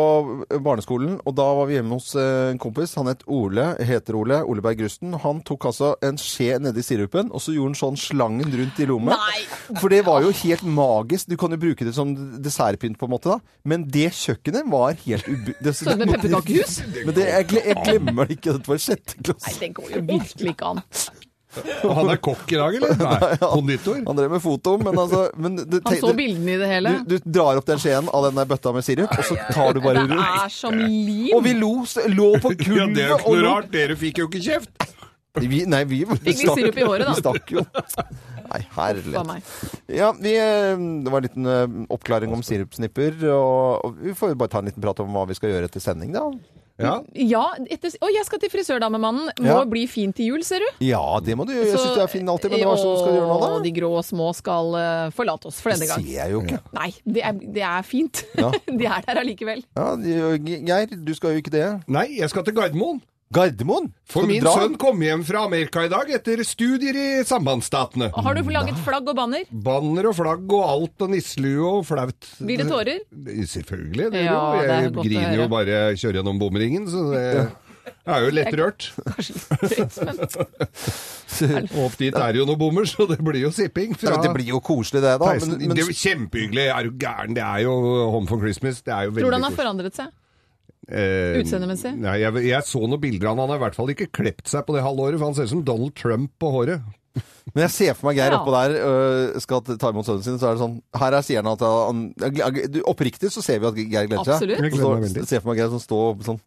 Speaker 1: barneskolen, og da var vi hjemme hos ø, en kompis. Han het Ole, heter Ole, Ole Berg Rusten. Han tok altså en skje nedi sirupen, og så gjorde han sånn slangen rundt i lommen.
Speaker 2: Nei.
Speaker 1: For det var jo helt magisk. Du kan jo bruke det som dessertpynt på en måte, da. Men det kjøkkenet var helt ubu... Det,
Speaker 2: Så det med pepperkakehus?
Speaker 1: Men det, jeg, gle- jeg glemmer det ikke. Dette var i sjette
Speaker 2: Nei,
Speaker 1: klasse.
Speaker 2: det går jo virkelig ikke an.
Speaker 3: Og han er kokk i dag, eller? Nei, konditor.
Speaker 1: Han drev med foto, men altså men det,
Speaker 2: Han så
Speaker 1: tenk-
Speaker 2: bildene i det hele.
Speaker 1: du, du drar opp den skjeen av den der bøtta med sirup, og så tar du bare
Speaker 2: Det er som lim.
Speaker 1: Og vi lo, s- lå på gulvet
Speaker 3: Ja, det er jo
Speaker 1: og
Speaker 3: ikke noe
Speaker 1: lo.
Speaker 3: rart, dere fikk jo ikke kjeft.
Speaker 1: Vi, nei, vi
Speaker 2: litt sirup i håret, da.
Speaker 1: Vi stakk jo. Nei,
Speaker 2: Faen
Speaker 1: herlighet.
Speaker 2: meg.
Speaker 1: Ja, vi, eh, det var en liten eh, oppklaring om sirupsnipper. Og, og vi får jo bare ta en liten prat om hva vi skal gjøre etter sending, da.
Speaker 3: Ja.
Speaker 2: Ja, etter, å, jeg skal til frisørdamemannen. Må
Speaker 1: Ja.
Speaker 2: bli fin til jul, ser du.
Speaker 1: Ja, det må du gjøre. Jeg
Speaker 2: Så-
Speaker 1: syns du er fin alltid, men hva er det som skal du gjøre nå,
Speaker 2: Å,
Speaker 1: da?
Speaker 2: De grå og små skal eh, forlate oss for denne
Speaker 1: Det
Speaker 2: gang.
Speaker 1: ser jeg jo ikke.
Speaker 2: Nei, det er, det er fint.
Speaker 1: Ja.
Speaker 2: de er der allikevel.
Speaker 1: Ja, de- Geir, du skal jo ikke det.
Speaker 3: Nei, jeg skal til Gardermoen.
Speaker 1: Gardermoen? Skal
Speaker 3: For
Speaker 1: du
Speaker 3: min
Speaker 1: dra?
Speaker 3: sønn kom hjem fra Amerika i dag etter studier i sambandsstatene.
Speaker 2: Har
Speaker 1: Mm,
Speaker 2: du laget flagg og banner?
Speaker 3: Banner og flagg og alt og nisselue og flaut. Eh,
Speaker 2: Blir det tårer?
Speaker 3: Selvfølgelig. Det
Speaker 2: Ja,
Speaker 3: gjør
Speaker 2: det
Speaker 3: det.
Speaker 2: er
Speaker 3: Jeg
Speaker 2: godt å
Speaker 3: griner
Speaker 2: høre.
Speaker 3: jo bare jeg kjører gjennom bomringen, så det jeg er jo lettrørt. Og Opp dit er det jo noen bommer, så det blir jo sipping.
Speaker 1: Ja, men det blir jo koselig det, da.
Speaker 3: Theisen.
Speaker 1: Men, men
Speaker 3: det er jo kjempehyggelig. Er du gæren? Det er jo Home for Christmas. Det er jo veldig
Speaker 2: Tror du han har
Speaker 3: koselig.
Speaker 2: forandret seg?
Speaker 3: Eh,
Speaker 2: Utseendemessig?
Speaker 3: Nei, jeg, jeg så noen bilder av han. Han har i hvert fall ikke klept seg på det halvåret, for han ser ut som Donald Trump på håret.
Speaker 1: Men jeg ser for meg Geir
Speaker 3: Ja.
Speaker 1: oppå der øh, skal ta imot sønnen sin, så er det sånn Her er sier han at han du, Oppriktig så ser vi at Geir gleder seg.
Speaker 3: Absolutt. Jeg gleder
Speaker 1: Og
Speaker 3: meg
Speaker 1: så
Speaker 3: veldig.
Speaker 1: ser jeg for meg Geir som står sånn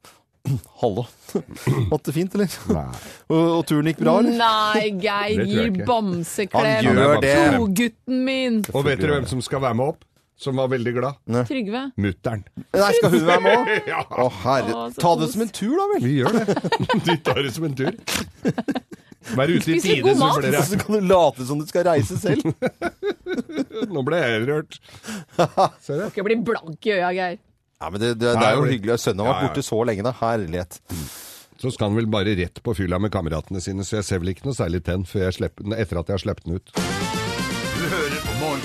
Speaker 1: Hallo. Hatt det fint, eller? og, og turen gikk bra, eller?
Speaker 2: Nei, Geir
Speaker 3: Det tror jeg
Speaker 2: gir
Speaker 3: ikke.
Speaker 2: bamseklem.
Speaker 3: Han gjør det.
Speaker 2: To gutten min!
Speaker 3: Og vet dere hvem som skal være med opp? Som var veldig glad?
Speaker 2: Mm. Trygve.
Speaker 3: Mutter'n.
Speaker 1: Nei, skal hun være med òg?
Speaker 3: ja.
Speaker 1: Å herre.
Speaker 2: Å, så
Speaker 1: Ta det
Speaker 2: kos.
Speaker 1: som en tur, da vel.
Speaker 3: Vi gjør det. De tar det som en tur. Vær ute i
Speaker 1: Spis litt
Speaker 3: tide,
Speaker 1: god
Speaker 3: så
Speaker 1: mat.
Speaker 3: blir
Speaker 1: Så
Speaker 3: det
Speaker 1: kan du late som du skal reise selv.
Speaker 3: Nå ble jeg rørt. Ser
Speaker 2: Skal ikke bli blank i øya, Geir.
Speaker 1: Ja, men det, det, det
Speaker 3: Nei,
Speaker 1: er jo
Speaker 3: det-
Speaker 1: hyggelig. Sønnen har
Speaker 3: Ja,
Speaker 1: vært
Speaker 3: ja.
Speaker 1: borte så lenge, da. Herlighet.
Speaker 3: Så skal han vel bare rett på fylla med kameratene sine, så jeg ser vel ikke noe særlig til han før jeg slipper den- etter at jeg har sluppet den ut.
Speaker 5: Du hører på